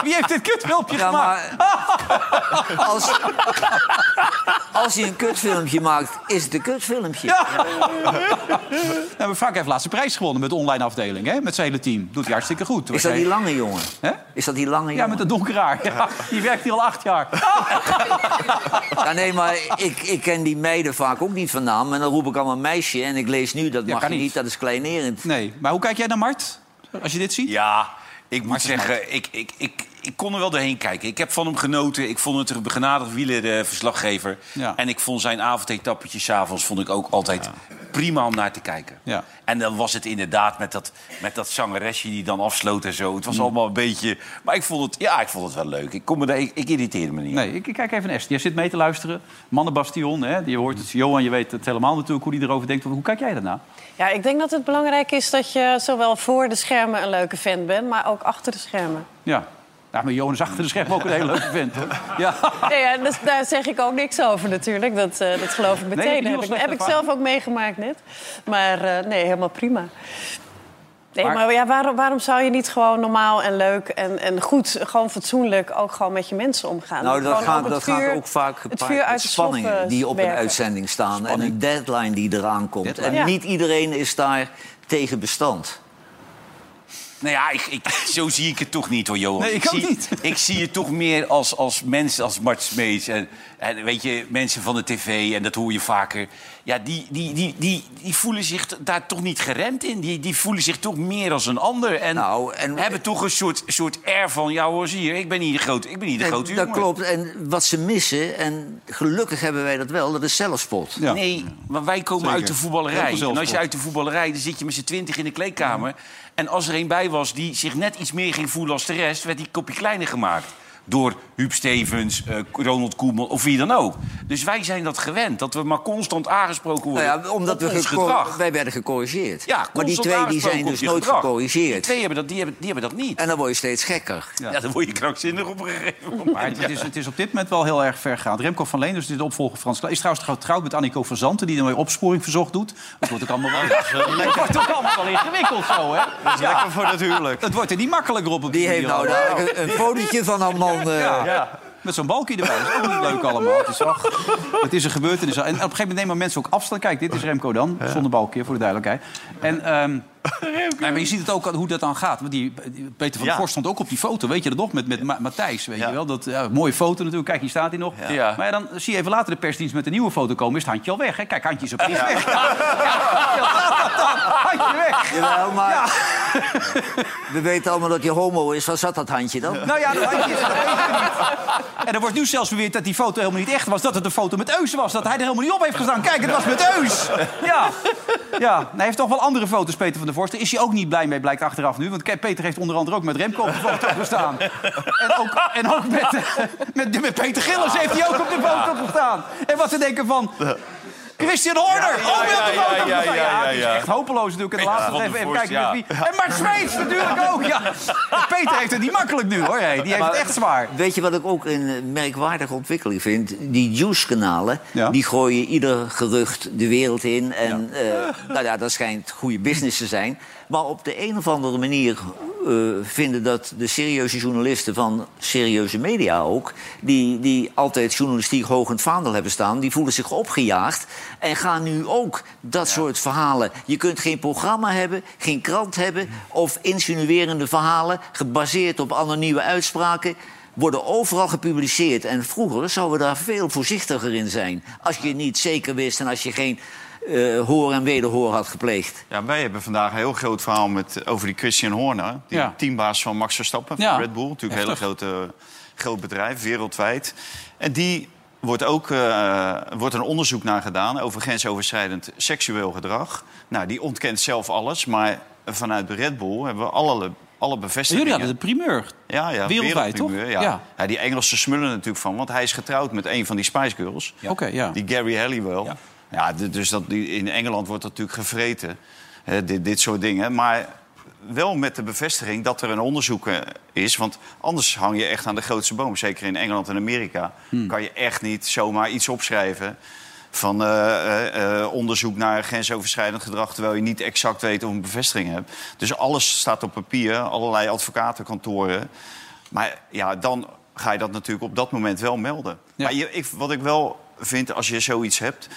S1: Wie heeft dit kutfilmpje
S3: Ja,
S1: gemaakt?
S3: maar als, als hij een kutfilmpje maakt, is het een kutfilmpje.
S1: Nou, maar Frank heeft laatst de prijs gewonnen met de online afdeling. Hè? Met zijn hele team. Doet hij hartstikke goed. Toen
S3: Is
S1: was
S3: dat die
S1: hij-
S3: lange jongen?
S1: Hè?
S3: Is dat die lange
S1: Ja,
S3: jongen?
S1: met de donkeraar. Ja, die werkt hier al acht jaar.
S3: Ja, nee, maar ik, ik ken die meiden vaak ook niet van naam. En dan roep ik allemaal meisje en ik lees nu, dat
S1: Ja,
S3: mag
S1: kan
S3: je
S1: niet.
S3: niet, dat is kleinerend.
S1: Nee, maar hoe kijk jij naar Mart? Als je dit ziet?
S5: Ja, ik moet zeggen, ik, ik, ik, ik kon er wel doorheen kijken. Ik heb van hem genoten. Ik vond het een begenadigd wielerverslaggever.
S1: Ja.
S5: En ik vond zijn avondetappetje s'avonds vond ik ook altijd prima om naar te kijken.
S1: Ja.
S5: En dan was het inderdaad met dat, met dat zangeresje die dan afsloot en zo. Het
S1: Mm.
S5: was allemaal een beetje... Maar ik vond het, ja, ik vond het wel leuk. Ik, kon me daar, ik, ik irriteerde me niet.
S1: Nee, ik, ik kijk even naar Esther. Jij zit mee te luisteren. Mannenbastion, hè? Je hoort het. Johan, je weet het helemaal natuurlijk hoe die erover denkt. Hoe kijk jij daarna?
S2: Ja, ik denk dat het belangrijk is dat je zowel voor de schermen een leuke fan bent, maar ook achter de schermen.
S1: Ja. Ja, maar Johan is achter de scherm ook een hele leuke vent, hoor. Ja.
S2: Nee, ja, dus daar zeg ik ook niks over natuurlijk. Dat, eh, dat geloof ik
S1: heb je
S2: meteen.
S1: heel
S2: heb ik,
S1: slechte
S2: heb ik
S1: ervaring.
S2: zelf ook meegemaakt net. Maar eh, nee, helemaal prima. Nee,
S1: Maar-
S2: maar, ja, waarom, waarom zou je niet gewoon normaal en leuk en, en goed, gewoon fatsoenlijk ook gewoon met je mensen omgaan?
S3: Nou, dat,
S2: Gewoon
S3: gaat,
S2: ook het
S3: dat
S2: vuur-
S3: gaat ook vaak
S2: het
S3: gepaard
S2: vuur
S3: met
S2: uit de
S3: spanningen
S2: sloffen
S3: die op een
S2: werken.
S3: uitzending staan... en een deadline die eraan komt. En
S2: Ja.
S3: niet iedereen is daar tegen bestand.
S5: Nou ja, ik, ik, zo zie ik het toch niet hoor, Johan.
S1: Nee, ik ook
S5: zie,
S1: niet.
S5: Ik zie het toch meer als, als mensen als Mart Smeets en, en weet je, mensen van de tv, en dat hoor je vaker. Ja, die, die, die, die, die voelen zich t- daar toch niet geremd in. Die, die voelen zich toch meer als een ander. En,
S3: Nou, en-
S5: hebben toch een soort, soort air van, ja hoor, zie je, ik ben niet de grote, ik ben niet de
S3: En
S5: grote
S3: dat
S5: jongen.
S3: klopt. En wat ze missen, en gelukkig hebben wij dat wel, dat is zelfspot.
S1: Ja.
S5: Nee, maar wij komen uit de
S1: Heel
S5: voetballerij.
S1: veel
S5: En als je
S1: zelfspot.
S5: uit de voetballerij, dan zit je met z'n twintig in de kleedkamer. En als er een bij was die zich net iets meer ging voelen als de rest... werd die kopje kleiner gemaakt. Door Huub Stevens, eh, Ronald Koeman of wie dan ook. Dus wij zijn dat gewend, dat we maar constant aangesproken worden.
S3: Nou ja, omdat
S5: op
S3: we
S5: ons
S3: gecor-
S5: gedrag.
S3: wij werden gecorrigeerd.
S5: Ja,
S3: maar die
S5: constant
S3: twee die
S5: aangesproken
S3: zijn
S5: op
S3: dus
S5: je
S3: nooit
S5: gedrag. Die
S3: gecorrigeerd. Eh,
S5: twee hebben dat, die hebben, die hebben dat niet.
S3: En dan word je steeds gekker.
S5: ja. dan word je krankzinnig op een gegeven moment.
S1: Maar het, is, dus- het is op dit moment wel heel erg ver gegaan. Remco van Leen, dus dit is de opvolger Frans Klaas, is trouwens getrouwd met Annico van Zanten... die dan weer opsporing verzocht doet. Dat wordt ook allemaal wel, Het wordt ook allemaal wel ingewikkeld zo, hè?
S4: Dat is lekker voor dat huwelijk.
S1: Het wordt er niet makkelijker op. op
S3: Die heeft
S1: video.
S3: nou daar een- een fotootje van haar man. eh,
S1: Met zo'n balkje erbij. Dat is ook niet leuk allemaal. Het is, ach, het is een gebeurtenis. En op een gegeven moment nemen mensen ook afstand. Kijk, dit is Remco dan. Zonder balkje, voor de duidelijkheid. En, ehm, nee, maar je ziet het ook aan hoe dat dan gaat. Want die, die Peter van der
S4: Ja.
S1: Vorst stond ook op die foto. Weet je dat nog? Met, met Ma- Matthijs, weet
S4: Ja.
S1: je wel? Dat, ja, mooie foto natuurlijk. Kijk, hier staat hij nog.
S5: Ja.
S1: Maar ja, dan zie je even later de persdienst met een nieuwe foto komen. Is het handje al weg, hè? Kijk, handje is opeens weg. Ja, wat gaat dat dan? Handje weg.
S3: Jawel, maar we weten allemaal dat je homo is. Waar zat dat handje dan?
S1: Nou ja, dat handje is er even niet. En er wordt nu zelfs beweerd dat die foto helemaal niet echt was. Dat het een foto met Eus was. Dat hij er helemaal niet op heeft gestaan. Kijk, het was met Eus. Ja. ja. Nou, Hij heeft toch wel andere foto's, Peter van der Vorst. Daar is hij ook niet blij mee, blijkt achteraf nu. Want kijk, Peter heeft onder andere ook met Remco op de foto gestaan. En ook, en ook met, eh, met, met Peter Gillis heeft hij ook op de foto gestaan. En wat te denken van... Christian Horner!
S5: Ja, ja,
S1: oh, die had de
S5: ja,
S1: foto
S5: ja, ja,
S1: gestaan.
S5: ja,
S1: het is
S5: ja.
S1: echt hopeloos natuurlijk. En de
S5: Ja,
S1: laatste
S5: van
S1: even,
S5: de
S1: even
S5: Vorst,
S1: kijken met wie. En Mart Smeets natuurlijk ook. Ja. Peter heeft het niet makkelijk nu hoor. Hey. Die heeft het echt zwaar.
S3: Weet je wat ik ook een eh, merkwaardige ontwikkeling vind? Die juice-kanalen,
S1: Ja.
S3: die gooien ieder gerucht de wereld in. En eh, nou ja, dat schijnt goede business te zijn. Maar op de een of andere manier eh, vinden dat de serieuze journalisten van serieuze media ook... Die, die altijd journalistiek hoog in het vaandel hebben staan... die voelen zich opgejaagd en gaan nu ook dat soort verhalen... Je kunt geen programma hebben, geen krant hebben... of insinuerende verhalen gebaseerd op anonieme uitspraken worden overal gepubliceerd. En vroeger zouden we daar veel voorzichtiger in zijn. Als je niet zeker wist en als je geen eh, hoor en wederhoor had gepleegd.
S4: Ja, wij hebben vandaag een heel groot verhaal met, over die Christian Horner. Die
S1: Ja.
S4: teambaas van Max Verstappen van
S1: Ja.
S4: Red Bull. Natuurlijk een hele grote, groot bedrijf, wereldwijd. En die wordt ook eh, wordt een onderzoek naar gedaan over grensoverschrijdend seksueel gedrag. Nou, die ontkent zelf alles, maar vanuit de Red Bull hebben we alle, alle bevestigingen.
S1: Jullie hadden de primeur.
S4: Ja, ja,
S1: Wereldwijd, toch?
S4: wereldprimeur, Ja.
S1: Ja.
S4: Ja. die Engelsen smullen er natuurlijk van, want hij is getrouwd met een van die Spice Girls.
S1: Oké, ja.
S4: Die Gary Halliwell. Ja, d- dus dat, die- in Engeland wordt dat natuurlijk gevreten, hè, dit, dit soort dingen. Maar wel met de bevestiging dat er een onderzoek eh, is. Want anders hang je echt aan de grootste boom. Zeker in Engeland en Amerika
S1: Hmm.
S4: kan je echt niet zomaar iets opschrijven... van eh, eh, eh, onderzoek naar grensoverschrijdend gedrag... terwijl je niet exact weet of een bevestiging hebt. Dus alles staat op papier, allerlei advocatenkantoren. Maar ja, dan ga je dat natuurlijk op dat moment wel melden.
S1: Ja.
S4: Maar je, ik, wat ik wel vind, als je zoiets hebt...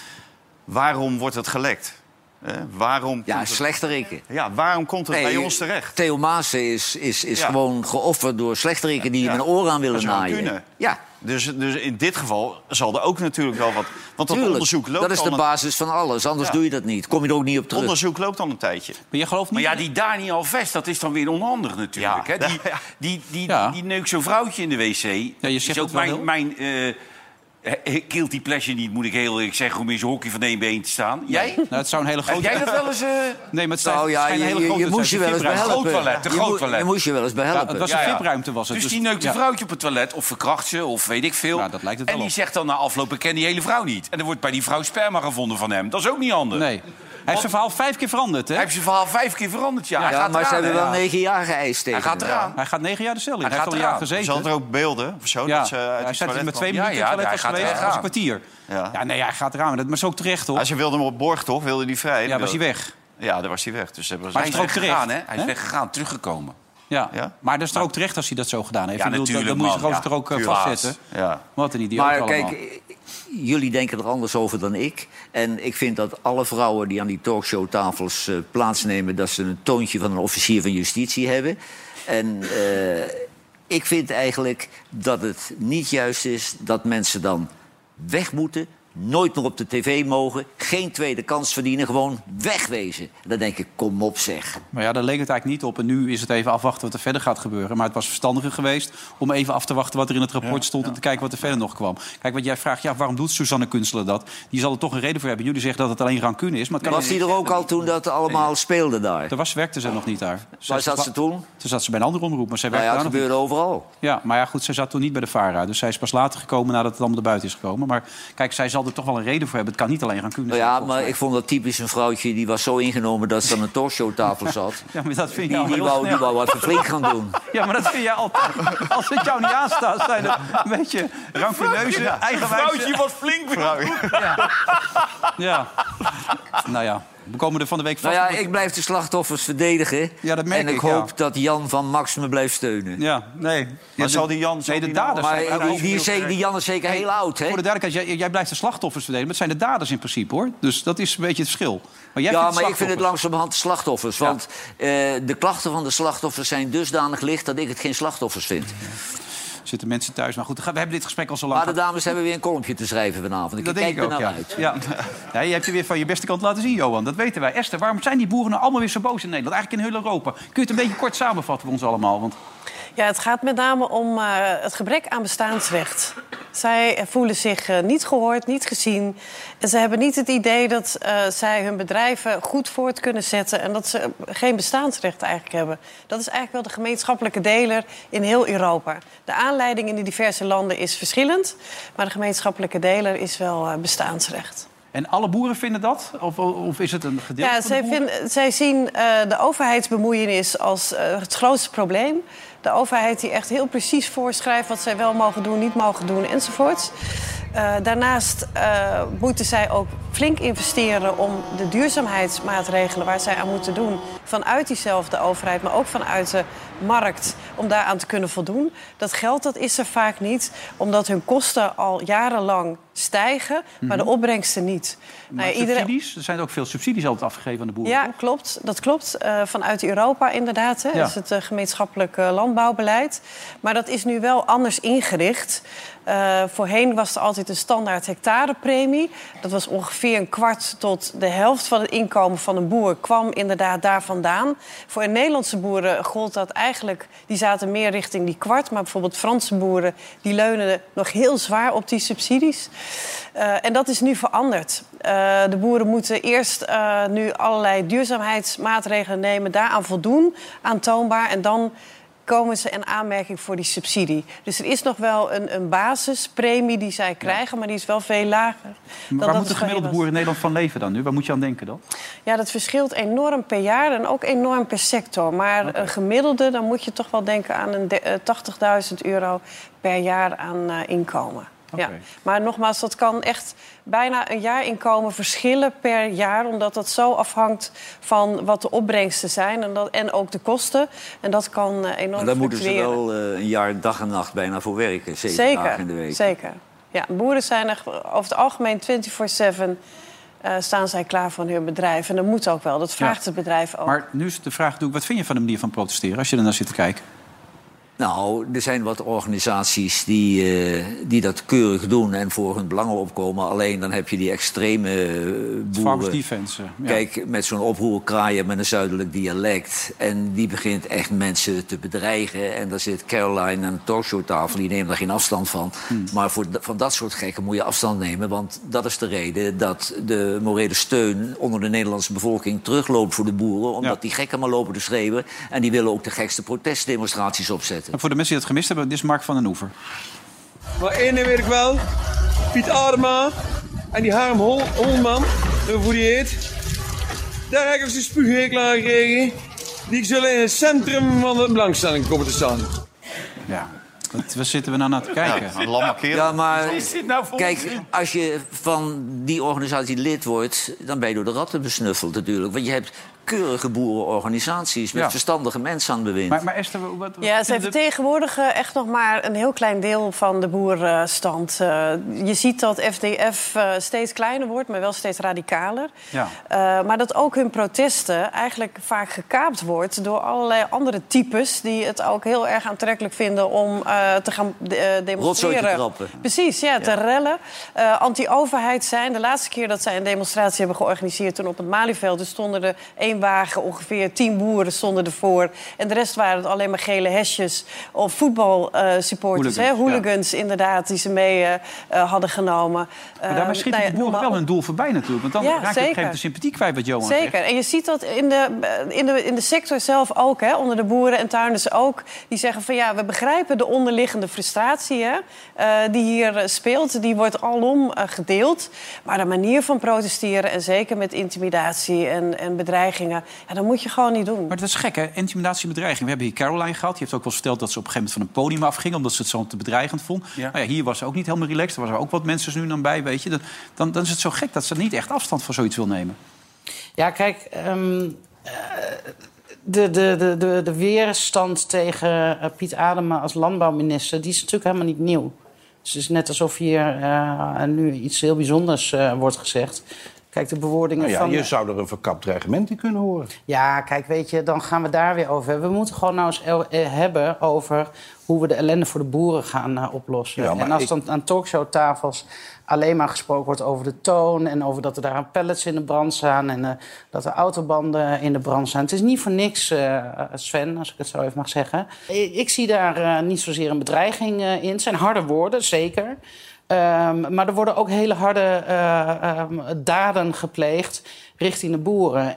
S4: waarom wordt het gelekt? Eh, waarom
S3: Ja,
S4: komt het-
S3: slechteriken.
S4: ja, waarom komt het
S3: Nee,
S4: bij ons terecht?
S3: Theo Maassen is, is, is
S4: Ja.
S3: gewoon geofferd door slechteriken die
S4: Ja.
S3: hem een oor aan
S4: Dat
S3: willen
S4: is wel
S3: naaien.
S4: kunnen.
S3: Ja,
S4: Dus, dus in dit geval zal er ook natuurlijk wel wat... Want dat
S3: tuurlijk.
S4: onderzoek loopt,
S3: dat is
S4: al
S3: de
S4: een,
S3: basis van alles. Anders
S4: Ja.
S3: doe je dat niet. Kom je er ook niet op terug.
S4: onderzoek loopt al een tijdje.
S1: Maar je gelooft
S5: Maar
S1: niet...
S5: ja, die Daniel Vest, dat is dan weer onhandig natuurlijk.
S4: Ja.
S5: Hè? Die, die, die,
S1: Ja.
S5: die neukt zo'n vrouwtje in de wc.
S1: je
S5: Is
S1: zegt
S5: ook
S1: het wel heel-
S5: mijn, mijn eh, guilty pleasure niet, moet ik heel eerlijk zeggen... om in zijn hockey van één been te staan. Jij?
S1: Nou, het zou een hele
S5: Heb
S1: grote...
S5: jij dat wel eens... eh,
S1: Nee, maar het zijn
S3: Nou ja, je,
S1: hele
S3: je-
S1: grote...
S3: je moest je wel eens bij
S5: fibra-
S3: helpen.
S5: groot toilet, een
S3: Je
S5: groot
S3: moe-
S5: toilet.
S3: Je moest je wel eens bij
S1: Ja,
S3: helpen.
S1: het was een
S5: Ja, ja.
S1: vipruimte, was het.
S5: Dus die neukt
S1: ja.
S5: een vrouwtje op het toilet of verkracht ze of weet ik veel.
S1: Nou, dat lijkt het
S5: en
S1: wel
S5: die
S1: op.
S5: zegt dan na afloop, ik ken die hele vrouw niet. En er wordt bij die vrouw sperma gevonden van hem. Dat is ook niet handig.
S1: Nee. Hij heeft zijn verhaal vijf keer veranderd, hè?
S5: Hij heeft zijn verhaal vijf keer veranderd, ja.
S3: ja,
S5: Hij gaat
S3: maar ze
S5: eraan,
S3: hebben
S5: hè.
S3: wel negen jaar geëist tegen
S5: Hij gaat
S3: hem.
S5: eraan.
S1: Hij gaat negen jaar de cel in. Hij,
S5: Hij
S1: heeft
S5: gaat
S1: al een jaar
S5: eraan.
S1: gezeten.
S4: Zal er ook beelden of zo?
S1: Ja,
S4: dat ze uit
S1: hij
S4: die
S1: staat
S4: toilet
S1: met twee
S4: kwam?
S1: minuten
S5: Ja, ja,
S1: ja,
S5: hij
S1: geweest.
S5: gaat
S1: Dat
S5: eraan.
S1: was een kwartier. Ja.
S4: Ja.
S1: nee, hij gaat eraan. Maar dat maar is ook terecht, hoor.
S4: Ah, ze wilden hem op borg, toch? Wilde die vrij?
S1: Ja, was hij weg.
S4: Ja, daar was hij weg. Dus hebben ze-
S5: Maar hij is
S1: er ook
S5: weggegaan, hè?
S1: terecht,
S5: Hij is
S1: hè?
S5: weggegaan, teruggekomen.
S1: Ja.
S4: Ja?
S1: Maar dat is er ook terecht als hij dat zo gedaan heeft.
S5: Ja,
S1: Ik bedoel, dat-
S5: natuurlijk,
S1: Dan moet je
S5: man.
S1: zich er ook eh,
S5: tuurlijk.
S1: vastzetten.
S4: Ja.
S1: Wat een idioot
S3: Maar
S1: allemaal.
S3: kijk, eh, jullie denken er anders over dan ik. En ik vind dat alle vrouwen die aan die talkshowtafels eh, plaatsnemen... dat ze een toontje van een officier van justitie hebben. En eh, ik vind eigenlijk dat het niet juist is dat mensen dan weg moeten... Nooit meer op de tv mogen, geen tweede kans verdienen, gewoon wegwezen. Dan denk ik, kom op zeg.
S1: Maar ja, daar leek het eigenlijk niet op. En nu is het even afwachten wat er verder gaat gebeuren. Maar het was verstandiger geweest om even af te wachten wat er in het rapport stond... en te kijken wat er verder nog kwam. Kijk, wat jij vraagt, ja, waarom doet Suzanne Kunstler dat? Die zal er toch een reden voor hebben. Jullie zeggen dat het alleen rancune is, maar het kan
S3: Was die er ook al toen dat allemaal speelde daar?
S1: Er was, werkte ze nog niet daar. Ze-
S3: Waar zat ze toen?
S1: Toen zat ze bij een andere omroep, maar zij
S3: Nou
S1: werkte
S3: ja, het
S1: daar nog
S3: gebeurde overal.
S1: niet. Ja, maar ja, goed, zij zat toen niet bij de VARA. Dus zij is pas later gekomen nadat het allemaal erbuiten is gekomen. Maar kijk, zij zal er toch wel een reden voor hebben. Het kan niet alleen rancune
S3: Nou
S1: zijn.
S3: ja,
S1: volgens
S3: maar
S1: mij.
S3: ik vond dat typisch een vrouwtje. Die was zo ingenomen dat ze aan een talkshowtafel zat.
S1: Ja, maar dat vind je
S3: Die,
S1: al
S3: die,
S1: heel
S3: wou,
S1: snel.
S3: die wou even flink gaan doen.
S1: Ja, maar dat vind jij altijd. Als het jou niet aanstaat, zijn het een beetje rancuneuze, eigenwijze...
S5: was flink.
S1: Ja. Nou ja, we komen er van de week
S3: Nou
S1: vast.
S3: ja,
S1: op het-
S3: ik blijf de slachtoffers verdedigen.
S1: Ja, dat merk
S3: en ik,
S1: ik,
S3: hoop
S1: ja.
S3: dat Jan van Max me blijft steunen.
S1: Ja, nee. Maar
S4: zal die Jan- zal
S1: Nee, de
S4: die nou-
S1: daders...
S3: maar
S1: zijn-
S3: ik- die, is zeker- die Jan is zeker heel oud, hè?
S1: Voor de duidelijkheid, jij, jij blijft de slachtoffers verdedigen. Maar het zijn de daders in principe, hoor. Dus dat is een beetje het verschil. Maar jij
S3: Ja,
S1: vindt
S3: maar ik vind het
S1: slachtoffers.
S3: langzamerhand slachtoffers. Want eh, de klachten van de slachtoffers zijn dusdanig licht... dat ik het geen slachtoffers vind.
S1: Zitten mensen thuis. Maar goed, we hebben dit gesprek al zo lang.
S3: Maar de dames hebben weer een kolmpje te schrijven vanavond. Ik
S1: Dat
S3: kijk
S1: denk ik
S3: er
S1: ook,
S3: naar
S1: ja.
S3: uit.
S1: ja. Ja, je hebt je weer van je beste kant laten zien, Johan. Dat weten wij. Esther, waarom zijn die boeren nou allemaal weer zo boos in Nederland? Eigenlijk in heel Europa. Kun je het een beetje kort samenvatten voor ons allemaal? Want
S2: Ja, het gaat met name om eh, het gebrek aan bestaansrecht. Zij voelen zich eh, niet gehoord, niet gezien. En ze hebben niet het idee dat eh, zij hun bedrijven goed voort kunnen zetten... en dat ze eh, geen bestaansrecht eigenlijk hebben. Dat is eigenlijk wel de gemeenschappelijke deler in heel Europa. De aanleiding in de diverse landen is verschillend... maar de gemeenschappelijke deler is wel eh, bestaansrecht.
S1: En alle boeren vinden dat? Of, of is het een gedeelte
S2: Ja,
S1: van de
S2: zij,
S1: boeren?
S2: vinden- zij zien eh, de overheidsbemoeienis als eh, het grootste probleem. De overheid die echt heel precies voorschrijft wat zij wel mogen doen, niet mogen doen enzovoort. Eh, daarnaast eh, moeten zij ook flink investeren om de duurzaamheidsmaatregelen waar zij aan moeten doen, vanuit diezelfde overheid, maar ook vanuit de markt, om daaraan te kunnen voldoen. Dat geld dat is er vaak niet, omdat hun kosten al jarenlang stijgen, maar de opbrengsten niet. Nou
S1: Mhm. Maar
S2: ja, iedereen-
S1: subsidies? Er zijn ook veel subsidies altijd afgegeven aan de boeren.
S2: ja,
S1: toch?
S2: klopt. Dat klopt. Eh, vanuit Europa inderdaad. Hè,
S1: Ja.
S2: is het eh, gemeenschappelijk eh, landbouwbeleid. Maar dat is nu wel anders ingericht. Eh, voorheen was er altijd een standaard hectarepremie. Dat was ongeveer een kwart tot de helft van het inkomen van een boer... kwam inderdaad daar vandaan. Voor de Nederlandse boeren gold dat eigenlijk... die zaten meer richting die kwart. Maar bijvoorbeeld Franse boeren die leunen nog heel zwaar op die subsidies. Eh, en dat is nu veranderd. Eh, de boeren moeten eerst eh, nu allerlei duurzaamheidsmaatregelen nemen, daaraan voldoen, aantoonbaar. En dan komen ze in aanmerking voor die subsidie. Dus er is nog wel een, een basispremie die zij krijgen, maar die is wel veel lager. dan
S1: Waar moet de
S2: dat het voorheen
S1: gemiddelde
S2: was.
S1: boer in Nederland van leven dan nu? Waar moet je aan denken dan?
S2: Ja, dat verschilt enorm per jaar en ook enorm per sector. Maar een gemiddelde, dan moet je toch wel denken aan een de- eh, 80.000 euro per jaar aan eh, inkomen. Ja. Maar nogmaals, dat kan echt bijna een jaar inkomen verschillen per jaar... omdat dat zo afhangt van wat de opbrengsten zijn en, dat, en ook de kosten. En dat kan eh, enorm
S3: Maar daar moeten ze
S2: fluctueren.
S3: wel eh, een jaar dag en nacht bijna voor werken. Zeven dagen in de week.
S2: Zeker. Ja, boeren zijn er over het algemeen 24-7 eh, staan zij klaar voor hun bedrijf. En dat moet ook wel. Dat vraagt het bedrijf ook.
S1: Maar nu is de vraag natuurlijk, wat vind je van de manier van protesteren... als je er naar zit te kijken?
S3: Nou, er zijn wat organisaties die, eh, die dat keurig doen en voor hun belangen opkomen. Alleen dan heb je die extreme eh,
S1: Farmers
S3: boeren.
S1: Defense. eh, ja.
S3: Kijk, met zo'n oproerkraaier met een zuidelijk dialect. En die begint echt mensen te bedreigen. En daar zit Caroline aan de talkshowtafel, die neemt daar geen afstand van. Maar voor, da- van dat soort gekken moet je afstand nemen. Want dat is de reden dat de morele steun onder de Nederlandse bevolking terugloopt voor de boeren. Omdat die gekken maar lopen te schreeuwen. En die willen ook de gekste protestdemonstraties opzetten.
S1: En voor de mensen die dat gemist hebben, dit is Mark van den Oever.
S10: Maar één ding weet ik wel. Piet Adema en die Harm Hol
S5: Oh,
S10: Holman, eh, hoe die heet. Daar heb ik ze spuughekel aan gekregen. Die zullen in het centrum van de belangstelling komen te staan.
S1: Ja. Wat, waar zitten we nou naar te kijken?
S4: Een lamme kerel.
S3: Ja, maar
S5: nou voor
S3: kijk, als je van die organisatie lid wordt... dan ben je door de ratten besnuffeld natuurlijk. Want je hebt keurige boerenorganisaties met
S1: Ja.
S3: verstandige mensen aan het bewind.
S1: Maar, maar Esther, wat- wat...
S2: Ja,
S1: wat
S2: zij
S1: vind je-
S2: vertegenwoordigen eh, echt nog maar een heel klein deel van de boerenstand. Eh, je ziet dat FDF eh, steeds kleiner wordt, maar wel steeds radicaler.
S1: Ja.
S2: Eh, maar dat ook hun protesten eigenlijk vaak gekaapt wordt door allerlei andere types die het ook heel erg aantrekkelijk vinden om eh, te gaan de- eh, demonstreren.
S3: Rotzooi te trappen.
S2: Precies, ja, te rellen. Eh, Anti-overheid zijn. De laatste keer dat zij een demonstratie hebben georganiseerd... toen op het Malieveld, toen stonden er één wagen, ongeveer tien boeren stonden ervoor. En de rest waren het alleen maar gele hesjes of voetbalsupporters. hè,
S1: Hooligans, ja.
S2: Hooligans, inderdaad, die ze mee eh, eh, hadden genomen.
S1: Maar daarmee
S2: Eh,
S1: schiet
S2: nou ja,
S1: de boeren
S2: noem maar
S1: wel
S2: op.
S1: hun doel voorbij natuurlijk. Want dan
S2: Ja,
S1: raak je op een gegeven
S2: zeker.
S1: moment de sympathie kwijt wat Johan zegt.
S2: Zeker. En je ziet dat in de, in de, in de sector zelf ook, hè, onder de boeren en tuinders ook. Die zeggen van ja, we begrijpen de onderliggende frustratie hè, eh, die hier eh, speelt. Die wordt alom eh, gedeeld. Maar de manier van protesteren, en zeker met intimidatie en, en bedreigingen, ja, dat moet je gewoon niet doen.
S1: Maar dat is gek, hè? Intimidatie en bedreiging. We hebben hier Caroline gehad. Die heeft ook wel verteld dat ze op een gegeven moment van een podium afging... omdat ze het zo te bedreigend vond.
S5: Ja.
S1: Nou ja, hier was ze ook niet helemaal relaxed. Er waren ook wat mensen nu dan bij, weet je. Dan, dan, dan is het zo gek dat ze niet echt afstand van zoiets wil
S10: Nou
S1: nemen.
S11: Ja, kijk, ehm, eh, de, de, de, de, de weerstand tegen eh, Piet Adema als landbouwminister... die is natuurlijk helemaal niet nieuw. Dus het is net alsof hier eh, nu iets heel bijzonders eh, wordt gezegd. Kijk, de bewoordingen
S10: Nou ja,
S11: van...
S10: je zou er een verkapt dreigement in kunnen horen.
S11: Ja, kijk, weet je, dan gaan we daar weer over hebben. We moeten gewoon nou eens el- eh, hebben over hoe we de ellende voor de boeren gaan eh, oplossen.
S10: Ja, maar
S11: en als
S10: ik-
S11: dan aan talkshowtafels alleen maar gesproken wordt over de toon... en over dat er daar pallets in de brand staan en eh, dat er autobanden eh, in de brand staan. Het is niet voor niks, eh, Sven, als ik het zo even mag zeggen. Ik, ik zie daar eh, niet zozeer een bedreiging eh, in. Het zijn harde woorden, zeker. Ehm, maar er worden ook hele harde eh, ehm, daden gepleegd richting de boeren.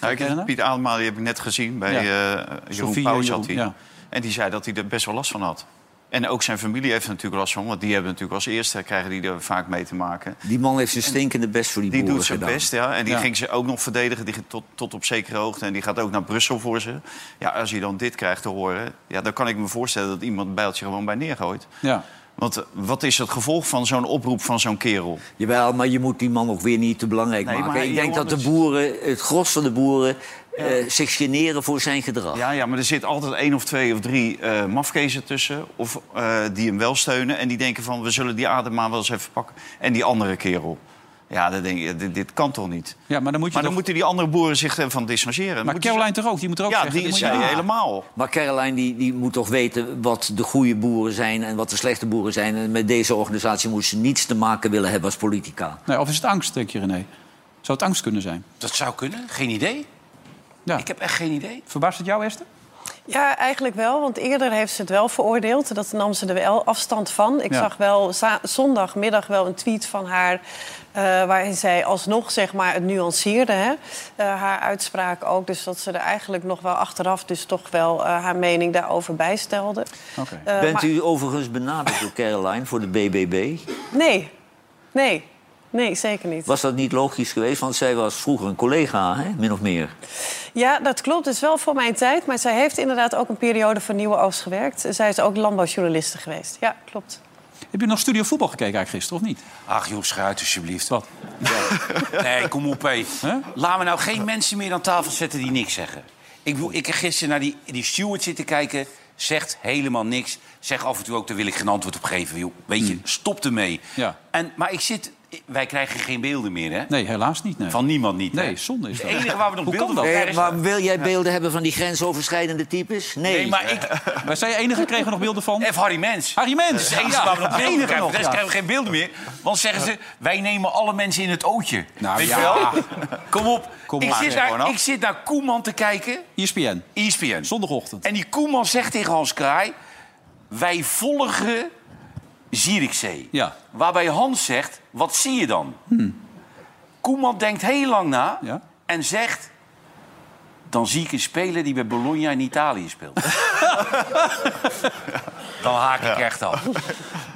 S4: Nou, ik-
S1: Herkennen?
S4: Piet Adema, die heb ik net gezien bij eh, Jeroen
S1: Sophie
S4: Pauws
S1: en
S4: had hij.
S1: Jeroen, ja.
S4: En die zei dat hij er best wel last van had. En ook zijn familie heeft er natuurlijk last van. Want die hebben natuurlijk als eerste, krijgen die er vaak mee te maken.
S3: Die man heeft zijn stinkende best voor die,
S4: Die
S3: boeren
S4: doet zijn
S3: gedaan.
S4: best, ja. En die
S1: Ja.
S4: ging ze ook nog verdedigen die, tot, tot op zekere hoogte. En die gaat ook naar Brussel voor ze. Ja, als je dan dit krijgt te horen... Ja, dan kan ik me voorstellen dat iemand een bijltje gewoon bij neergooit.
S1: Ja.
S4: Want eh, wat is het gevolg van zo'n oproep van zo'n kerel?
S3: Jawel, maar je moet die man ook weer niet te belangrijk
S4: Nee,
S3: maken.
S4: maar
S3: ik
S4: Johan,
S3: denk dat
S4: dat
S3: de
S4: is-
S3: boeren, het gros van de boeren, eh, zich generen voor zijn gedrag.
S4: Ja, ja, maar er zit altijd één of twee of drie eh mafkezen tussen... Of, eh, die hem wel steunen en die denken van... we zullen die adem maar wel eens even pakken. En die andere kerel. Ja, dan denk je, dit, dit kan toch niet?
S1: Ja, maar dan, moet je
S4: maar dan
S1: toch-
S4: moeten die andere boeren zich eh, van distancieren.
S1: maar
S4: Moeten ze-
S1: Caroline toch ook? Die moet er ook
S4: Ja,
S1: zeggen.
S4: die is
S1: moet
S4: ja,
S1: je-
S4: helemaal.
S3: Maar Caroline die, die moet toch weten wat de goede boeren zijn en wat de slechte boeren zijn. En met deze organisatie moet ze niets te maken willen hebben als politica.
S1: Nee, of is het angst, denk je, René? Zou het angst kunnen zijn?
S5: Dat zou kunnen. Geen idee.
S1: Ja.
S5: Ik heb echt geen idee.
S1: Verbaast het jou, Esther?
S2: Ja, eigenlijk wel. Want eerder heeft ze het wel veroordeeld. Dat nam ze er wel afstand van. Ik
S1: Ja.
S2: zag wel za- zondagmiddag wel een tweet van haar... eh, waarin zij alsnog zeg maar, het nuanceerde. Hè? Eh, haar uitspraak ook. Dus dat ze er eigenlijk nog wel achteraf... dus toch wel eh, haar mening daarover bijstelde.
S3: Oké.
S2: Eh,
S3: Bent
S2: maar-
S3: u overigens benaderd door Caroline voor de BBB?
S2: Nee, nee, nee, zeker niet.
S3: Was dat niet logisch geweest? Want zij was vroeger een collega, hè? min of meer.
S2: Ja, dat klopt. Het is wel voor mijn tijd. Maar zij heeft inderdaad ook een periode van Nieuwe Oost gewerkt. Zij is ook landbouwjournaliste geweest. Ja, klopt.
S1: Heb je nog Studio Voetbal gekeken eigenlijk gisteren, of niet?
S5: Ach joh, schuit alsjeblieft.
S1: Wat?
S5: Nee, kom op, hé. Laat me nou geen mensen meer aan tafel zetten die niks zeggen. Ik, bedoel, ik heb gisteren naar die, die steward zitten kijken. Zegt helemaal niks. Zeg af en toe ook, daar wil ik geen antwoord op geven. Joh. Weet je, stop ermee.
S1: Hmm. Ja.
S5: En, maar ik zit... Wij krijgen geen beelden meer, hè?
S1: Nee, helaas niet. Nee.
S5: Van niemand niet, hè?
S1: Nee, zonde is
S5: Het
S1: dat.
S5: enige waar we nog
S1: Hoe kan
S5: beelden
S1: dat?
S5: van
S3: Eh,
S5: krijgen-
S3: maar wil jij beelden hebben van die grensoverschrijdende types? Nee.
S5: Nee, maar ik...
S1: Wij zijn je enige, kregen we nog beelden van?
S5: F. Harry Mens.
S1: Harry
S5: Dat is
S1: Mens!
S5: het enige waar we nog
S1: het
S5: beelden
S1: enige
S5: krijgen. Voor
S1: nog,
S5: de rest
S1: ja.
S5: krijgen we geen beelden meer. Want zeggen ze, wij nemen alle mensen in het ootje.
S1: Nou,
S5: Weet je
S1: ja.
S5: wel? Kom op.
S1: Kom
S5: ik,
S1: maar, zeg
S5: zit
S1: E
S5: naar,
S1: gewoon af.
S5: ik zit naar Koeman te kijken. E
S1: ESPN,
S5: ESPN.
S1: zondagochtend.
S5: En die Koeman zegt tegen Hans Kraai... wij volgen Zierikzee.
S1: Ja. Hmm.
S5: Waarbij Hans zegt, wat zie je dan? Koeman denkt heel lang na
S1: Ja.
S5: en zegt... dan zie ik een speler die bij Bologna in Italië speelt. dan haak ik echt af.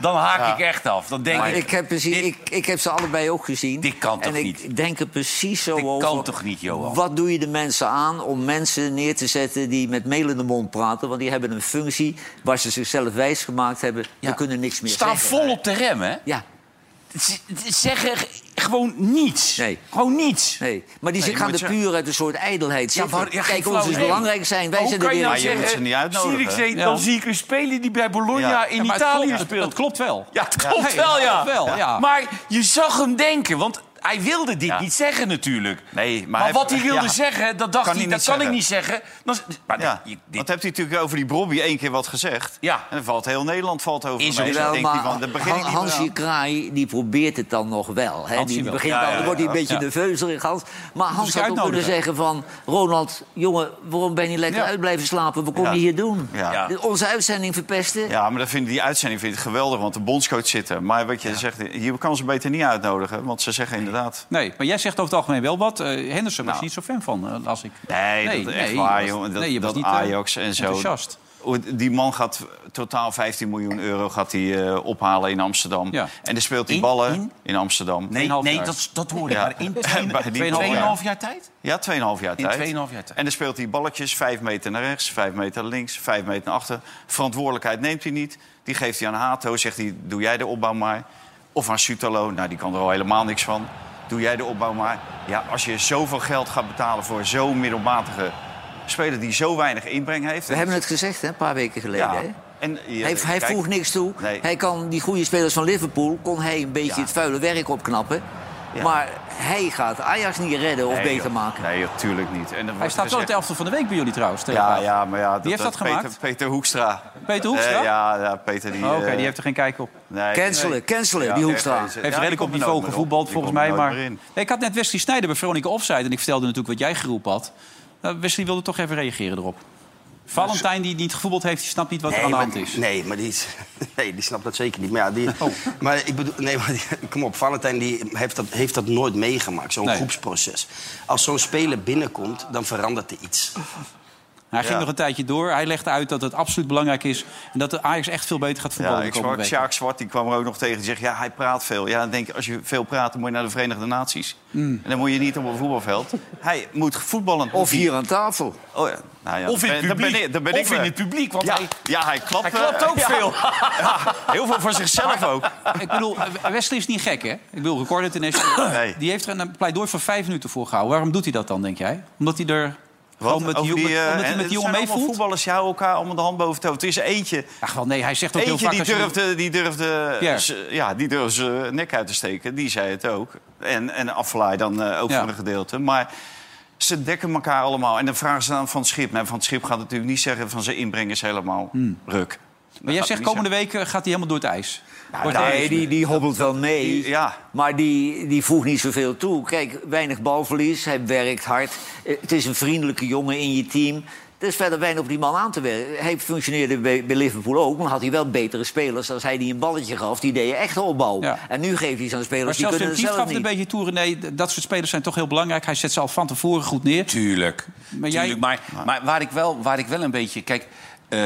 S5: Dan haak ik echt af. Dan denk
S3: Maar
S5: ik...
S3: ik heb, precies, ik, ik heb ze allebei ook gezien.
S5: Dit kan toch
S3: en ik
S5: niet?
S3: denk er precies zo
S5: Dit
S3: over.
S5: kan toch niet, Johan?
S3: Wat doe je de mensen aan om mensen neer te zetten die met melende mond praten? Want die hebben een functie waar ze zichzelf wijsgemaakt hebben. We kunnen niks meer
S5: Staan
S3: zeggen.
S5: vol op de rem, hè?
S3: Ja,
S5: Z- Zeggen g- gewoon niets.
S3: Nee.
S5: Gewoon niets.
S3: nee. Maar die
S4: Nee,
S3: gaan
S4: moet
S3: er
S4: je-
S3: puur uit een soort ijdelheid
S5: Ja,
S3: zitten.
S5: maar- ja, geen
S3: Kijk, ons
S5: flauw
S3: is
S5: idee.
S3: belangrijk zijn. Wij
S5: Hoe
S3: zijn
S5: kan
S3: er
S5: je
S3: weer.
S5: nou
S4: Maar je
S5: zeggen,
S4: moet ze niet uitnodigen.
S5: Zierikzee,
S1: Ja.
S5: dan zie ik een speler die bij Bologna
S4: Ja.
S5: in
S1: maar het
S5: Italië
S1: klopt- het-
S5: speelt.
S1: Het klopt wel.
S5: Ja, het klopt
S1: Nee,
S5: wel, ja.
S1: het klopt wel, ja.
S5: Maar je zag hem denken, want hij wilde dit niet zeggen natuurlijk.
S4: Nee, maar
S5: maar
S4: hij-
S5: wat hij wilde
S4: ja.
S5: zeggen, dat dacht
S4: Kan
S5: hij,
S4: hij
S5: dat
S4: niet
S5: kan ik
S4: zeggen.
S5: niet zeggen. Dan, maar
S4: Ja,
S5: dit- dit-
S4: want hebt hij natuurlijk over die Brobby één keer wat gezegd.
S5: Ja.
S4: En dan valt heel Nederland valt over
S5: Is
S4: hem heen.
S5: ook
S3: Wel,
S4: Dan denkt hij van,
S3: maar
S4: daar begin ik
S3: Han-
S4: niet meer
S3: Hansje
S4: aan.
S3: Kraai die probeert het dan nog wel. Hè?
S1: Hansje
S3: Die
S1: wel.
S3: begint
S4: Ja,
S3: al,
S4: ja,
S3: dan wordt hij een
S4: ja.
S3: beetje
S1: Ja.
S3: nerveuzerig. Hans. Maar Hans
S1: ik
S3: had ook kunnen
S1: uitnodigen.
S3: zeggen van... Ronald, jongen, waarom ben je lekker uit blijven slapen? Wat kom
S4: Ja.
S3: je hier doen?
S4: Ja.
S3: De- Onze uitzending verpesten?
S4: Ja, maar dat vind, die uitzending vind ik geweldig, want de bondscoach zit er. Maar wat je zegt, je kan ze beter niet uitnodigen. Want ze zeggen inderdaad...
S1: Nee, maar jij zegt over het algemeen wel wat. Eh, Henderson was je niet zo fan van, eh, las ik.
S4: Nee, dat is echt
S1: je
S4: waar,
S1: was-
S4: joh. Dat,
S1: nee, je was
S4: dat
S1: niet, eh,
S4: Ajax en zo.
S1: enthousiast.
S4: Hoe- Die man gaat totaal 15 miljoen euro gaat hij, eh, ophalen in Amsterdam.
S1: Ja.
S4: En dan speelt hij
S5: In-
S4: ballen in,
S5: in?
S4: Amsterdam.
S5: nee,
S1: half
S5: nee
S1: jaar.
S5: dat, dat hoorde
S4: Ja.
S5: ik. Maar in
S4: Bij
S5: twee-
S4: die Bologna.
S5: 2,5 jaar tijd?
S4: Ja, 2,5 jaar
S5: In
S4: tijd.
S5: 2,5 jaar tijd.
S4: En dan speelt hij balletjes 5 meter naar rechts, 5 meter naar links, 5 meter naar achter. Verantwoordelijkheid neemt hij niet. Die geeft hij aan Hato, zegt hij, doe jij de opbouw maar. Of aan Sutalo, nou die kan er al helemaal niks van. Doe jij de opbouw maar. Ja, als je zoveel geld gaat betalen voor zo'n middelmatige speler... die zo weinig inbreng heeft...
S3: We hebben het gezegd, hè, een paar weken geleden.
S4: Ja.
S3: Hè?
S4: En, ja,
S3: Hij, hij
S4: kijk,
S3: voegt niks toe.
S4: Nee.
S3: Hij kan die goede spelers van Liverpool... kon hij een beetje het vuile werk opknappen. Maar hij gaat Ajax niet redden of
S4: nee,
S3: beter
S4: joh.
S3: maken.
S4: Nee, natuurlijk niet. En
S1: Hij staat wel in het elftal van de week bij jullie trouwens.
S4: Ja,
S1: tegenwoordig.
S4: ja, maar ja, dat,
S1: heeft dat
S4: Peter,
S1: gemaakt?
S4: Peter Hoekstra.
S1: Peter Hoekstra?
S4: Eh, ja, ja, Peter die...
S1: Oh, Oké,
S4: eh,
S1: die heeft er geen kijk op.
S4: nee,
S3: Cancelen,
S4: nee.
S3: cancelen,
S4: Ja,
S3: die
S4: echt
S3: Hoekstra.
S4: deze.
S1: Heeft
S4: Ja, die
S1: redelijk op
S4: komt er
S1: niveau
S4: nooit meer
S1: gevoetbald,
S4: Die
S1: volgens
S4: komt
S1: mij.
S4: er
S1: Maar...
S4: nooit meer in.
S1: Nee, ik had net Wesley Snijder bij Veronica Offside... en ik vertelde natuurlijk wat jij geroepen had. Nou, Wesley wilde toch even reageren erop. Valentijn, die niet gevoetbald heeft, die snapt niet wat er aan de
S12: maar,
S1: hand is. Oh.
S12: Nee, maar die, is- nee, die snapt dat zeker niet. Maar, ja, die, maar ik bedoel, nee, maar die- kom op, Valentijn die heeft, dat, heeft dat nooit meegemaakt, zo'n
S1: Nee.
S12: groepsproces. Als zo'n speler binnenkomt, dan verandert er iets.
S1: Hij ging
S4: Ja.
S1: nog een tijdje door. Hij legde uit dat het absoluut belangrijk is. En dat de Ajax echt veel beter gaat voetballen.
S4: Ja,
S1: de
S4: ik
S1: komende
S4: sprak
S1: weken.
S4: Sjaak Zwart, die kwam er ook nog tegen. Die zegt, ja, hij praat veel. Ja, dan denk ik, als je veel praat, dan moet je naar de Verenigde Naties.
S1: Mm.
S4: En dan moet je niet op een voetbalveld. Hij moet voetballen.
S3: Of hier aan tafel.
S4: Oh, ja. Nou ja,
S5: Of in het
S4: dan ben- dan ben
S5: publiek.
S4: ik- dan ben
S5: Of
S4: ik
S5: in
S4: weer.
S5: het publiek, want
S4: ja,
S5: hij-
S4: ja, hij klapt, eh,
S5: hij klapt ook
S4: Ja.
S5: veel.
S4: Ja, heel veel voor zichzelf ook.
S1: Ik bedoel, Wesley is niet gek, hè? Ik bedoel, Record International. Die heeft er een pleidooi van vijf minuten voor gehouden. Waarom doet hij dat dan, denk jij? Omdat hij er gewoon met die,
S4: Over
S1: jongen-
S4: eh,
S1: omdat hij
S4: en
S1: met
S4: het
S1: die jongen
S4: zijn
S1: mee
S4: allemaal
S1: voelt?
S4: voetballers, jou elkaar allemaal de hand boven het hoofd. Het is eentje.
S1: Ach, wel nee, hij zegt ook heel
S4: Eentje
S1: vaak
S4: die
S1: als je-
S4: durfde, die durfde,
S1: Pierre.
S4: z- ja, die durfde zijn nek uit te steken. Die zei het ook. En, en Afflaai dan eh, ook voor een gedeelte. Maar ze dekken elkaar allemaal. En dan vragen ze dan van het schip. Nou, van het schip gaat natuurlijk niet zeggen van zijn inbreng is helemaal ruk.
S1: Hmm. Maar jij
S4: gaat
S1: zegt,
S4: niet
S1: komende week eh, gaat hij helemaal door het ijs. Wordt hij
S3: nee,
S1: eens-
S3: die, die hobbelt wel mee. Maar die, die voegt niet zoveel toe. Kijk, weinig balverlies. Hij werkt hard. Eh, Het is een vriendelijke jongen in je team. Er is verder weinig op die man aan te werken. Hij functioneerde bij, bij Liverpool ook, maar had hij wel betere spelers. Als hij die een balletje gaf, die deden echt opbouw. En nu geeft hij zo'n
S1: Maar
S3: spelers, die
S1: zelfs
S3: kunnen
S1: Tim
S3: het
S1: Kieft
S3: zelf
S1: gaf het een
S3: niet.
S1: beetje toe, René. D- Dat soort spelers zijn toch heel belangrijk. Hij zet ze al van tevoren goed neer.
S5: Tuurlijk.
S1: Maar jij-
S5: Tuurlijk, maar, maar waar, ik wel, waar ik wel een beetje... Kijk, eh,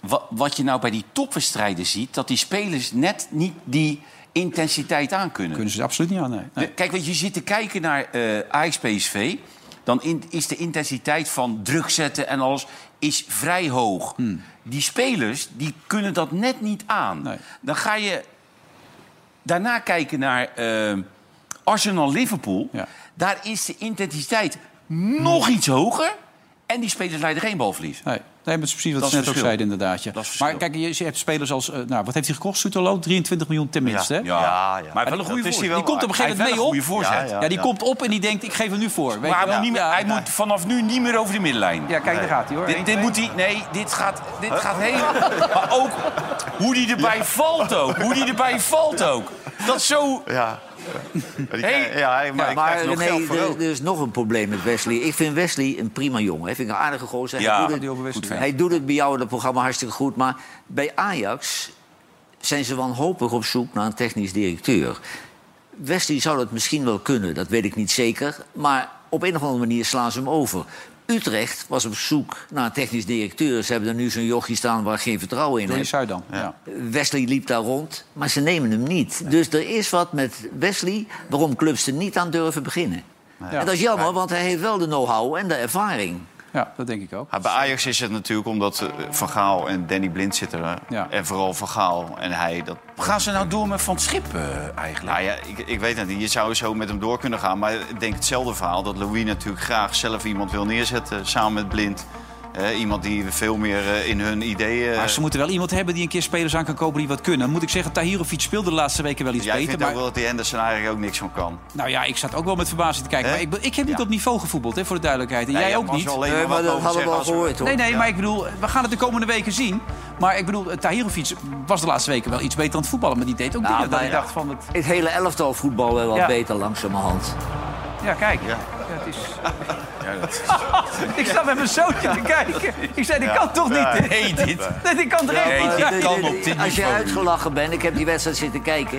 S5: wa- wat je nou bij die topwedstrijden ziet... dat die spelers net niet die intensiteit aan kunnen.
S1: Kunnen ze het absoluut niet aan, nee.
S5: Nee. Kijk, want je zit te kijken naar eh Ajax-PSV... dan in- is de intensiteit van druk zetten en alles is vrij hoog. Die spelers die kunnen dat net niet aan. Dan ga je daarna kijken naar eh, Arsenal-Liverpool. Daar is de intensiteit nog iets hoger... en die spelers leiden geen balverlies.
S1: Nee, nee maar het is precies wat
S5: Dat
S1: ze
S5: is
S1: net ook
S5: verschil.
S1: zeiden, inderdaad. Ja. Maar kijk, je je hebt spelers als... eh, nou, wat heeft hij gekocht, Soetelo? 23 miljoen tenminste,
S5: Ja.
S1: hè?
S5: Ja, ja. Maar hij heeft wel een goede
S1: Dat is
S5: voorzet.
S1: hij Die komt op een gegeven
S5: Hij
S1: moment mee op.
S5: heeft wel een goede voorzet.
S1: Ja,
S5: Ja,
S1: die
S5: ja.
S1: komt op en die denkt, ik geef hem nu voor. Weet
S5: Maar hij,
S1: je wel?
S5: moet, niet meer, hij moet vanaf nu niet meer over de middenlijn. Ja,
S1: kijk, daar gaat hij, hoor. Eén,
S5: Dit, dit
S1: twee.
S5: moet hij. Nee, dit gaat, dit
S1: Huh?
S5: gaat heel. Maar ook hoe die erbij valt ook. Hoe die erbij valt ook. Dat is zo.
S4: Ja.
S5: Hey.
S3: Ja, René, er, er is nog een probleem met Wesley. Ik vind Wesley een prima jongen. hè. Vind ik een aardige gozer.
S5: Ja,
S3: hij,
S5: die
S3: doet
S5: over
S3: het,
S5: Wesley.
S3: hij doet het bij jou in het programma hartstikke goed. Maar bij Ajax zijn ze wanhopig op zoek naar een technisch directeur. Wesley zou dat misschien wel kunnen, dat weet ik niet zeker. Maar op een of andere manier slaan ze hem over. Utrecht was op zoek naar een technisch directeur. Ze hebben er nu zo'n jochie staan waar geen vertrouwen in
S1: Door die
S3: heeft.
S1: Zuidam, ja.
S3: Wesley liep daar rond, maar ze nemen hem niet. Dus er is wat met Wesley waarom clubs er niet aan durven beginnen.
S4: Ja.
S3: En dat is jammer, want hij heeft wel de know-how en de ervaring.
S1: Ja, dat denk ik ook.
S4: Maar bij Ajax is het natuurlijk omdat eh, Van Gaal en Danny Blind zitten er. En vooral Van Gaal en hij. Dat...
S5: Gaan ze nou door met Van het Schip eh, eigenlijk?
S4: Nou ja, ik, ik weet het niet. Je zou zo met hem door kunnen gaan. Maar ik denk hetzelfde verhaal. Dat Louis natuurlijk graag zelf iemand wil neerzetten. Samen met Blind. Eh, iemand die veel meer eh, in hun ideeën...
S1: Maar ze moeten wel iemand hebben die een keer spelers aan kan kopen die wat kunnen. Moet ik zeggen, Tahirovic speelde de laatste weken wel iets
S4: Jij
S1: beter.
S4: vindt
S1: Maar,
S4: ook wel dat die Henderson eigenlijk ook niks van kan.
S1: Nou ja, ik zat ook wel met verbazing te kijken. Maar ik, be- ik heb niet op niveau gevoetbald, hè, voor de duidelijkheid. En
S4: Nee,
S1: jij
S4: je
S1: ook
S4: mag
S1: niet.
S4: wel alleen maar Nee, maar wat dat over hadden we zeggen al als we- gehoord, hoor.
S1: Nee, nee,
S4: Ja.
S1: maar ik bedoel, we gaan het de komende weken zien. Maar ik bedoel, eh, Tahirovic was de laatste weken wel iets beter aan het voetballen. Maar die deed ook
S3: Ja,
S1: dingen dat
S3: Ah, maar
S1: ik dacht van... Het...
S3: Het hele elftal voetbal wel wat
S1: Ja.
S3: beter langzamerhand.
S1: Ja, kijk. Ja. het is... ik sta met mijn zoontje te kijken. Ik zei, dit
S3: Ja.
S1: kan toch niet?
S3: Ja.
S1: hè?
S3: Nee, dit-
S1: Nee, dit kan toch
S3: Ja,
S1: echt
S3: maar
S1: niet?
S3: de- de- Als je uitgelachen bent, ik heb die wedstrijd zitten kijken...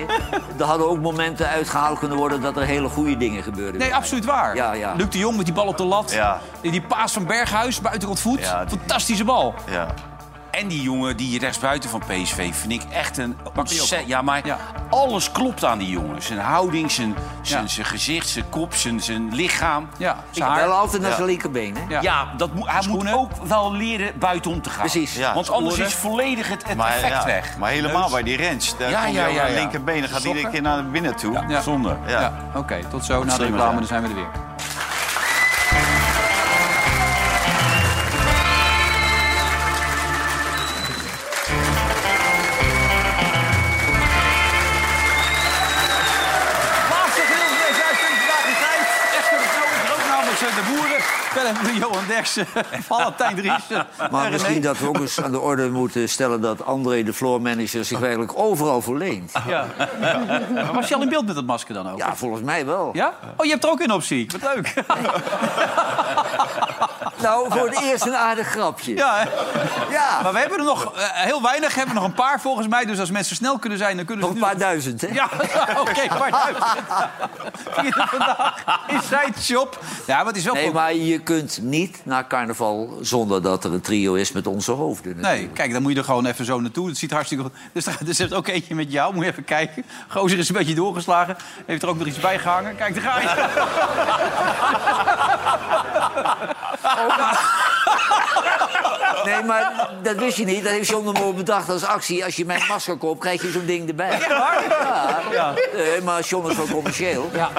S3: er hadden ook momenten uitgehaald kunnen worden dat er hele goede dingen gebeurden.
S1: Nee, absoluut waar.
S3: Ja, ja.
S1: Luc de Jong met die bal op de lat. Die die paas van Berghuis, buitenkant voet. Fantastische bal.
S5: En die jongen, die rechtsbuiten van PSV, vind ik echt een... ontzettend- Ja, maar alles klopt aan die jongen. Zijn houding, zijn, zijn, zijn gezicht, zijn kop, zijn, zijn lichaam.
S1: Ja,
S3: Ik bel altijd naar zijn linkerbeen, hè?
S5: Ja, dat moet- hij moet ook wel leren buiten om te gaan.
S3: Precies. Ja,
S5: Want anders
S3: scoren.
S5: is volledig het, het
S4: Maar,
S5: effect
S4: ja,
S5: weg.
S4: maar helemaal bij die Rens. Daar komt hij ook aan linkerbenen, gaat iedere keer naar binnen toe.
S1: Ja.
S5: Zonde.
S1: Ja. Oké, tot zo. Na de
S4: Slimmer
S1: reclame,
S4: zijn.
S1: dan zijn we er weer. Laatste gedeelte van deze uitzending vandaag in tijd. Echter de Vrouw is er ook namens eh, de boeren. Willem, Johan Derksen, Valentijn Driessen.
S3: Maar
S1: en
S3: misschien
S1: René.
S3: dat we ook eens aan de orde moeten stellen... dat André, de floormanager,
S4: Oh.
S3: zich eigenlijk overal verleent.
S1: Ja. Maar Was je al in beeld met dat masker dan ook?
S3: Ja, volgens mij wel.
S1: Ja? Oh, je hebt er ook een optie. Wat leuk.
S3: nou voor het eerst een aardig grapje.
S1: Ja, hè? Maar we hebben er nog eh, heel weinig. We hebben nog een paar volgens mij. Dus als mensen snel kunnen zijn, dan kunnen ze
S3: Nog een paar duizend, hè?
S1: Ja, oké, een paar duizend. Vierde vandaag in zijn shop. Ja, maar het is wel
S3: Nee,
S1: goed.
S3: maar je kunt niet naar carnaval zonder dat er een trio is met onze hoofden.
S1: Nee, kijk, dan moet je er gewoon even zo naartoe. Het ziet hartstikke goed. Dus er gaat- er zit ook eentje met jou. Moet je even kijken. Gozer is een beetje doorgeslagen. Heeft er ook nog iets bij gehangen. Kijk, daar ga je.
S3: Nee, maar dat wist je niet. Dat heeft John de Mol bedacht als actie. Als je mijn masker koopt, krijg je zo'n ding erbij. Ja,
S1: Ja.
S3: Eh, maar John is wel commercieel. Ja.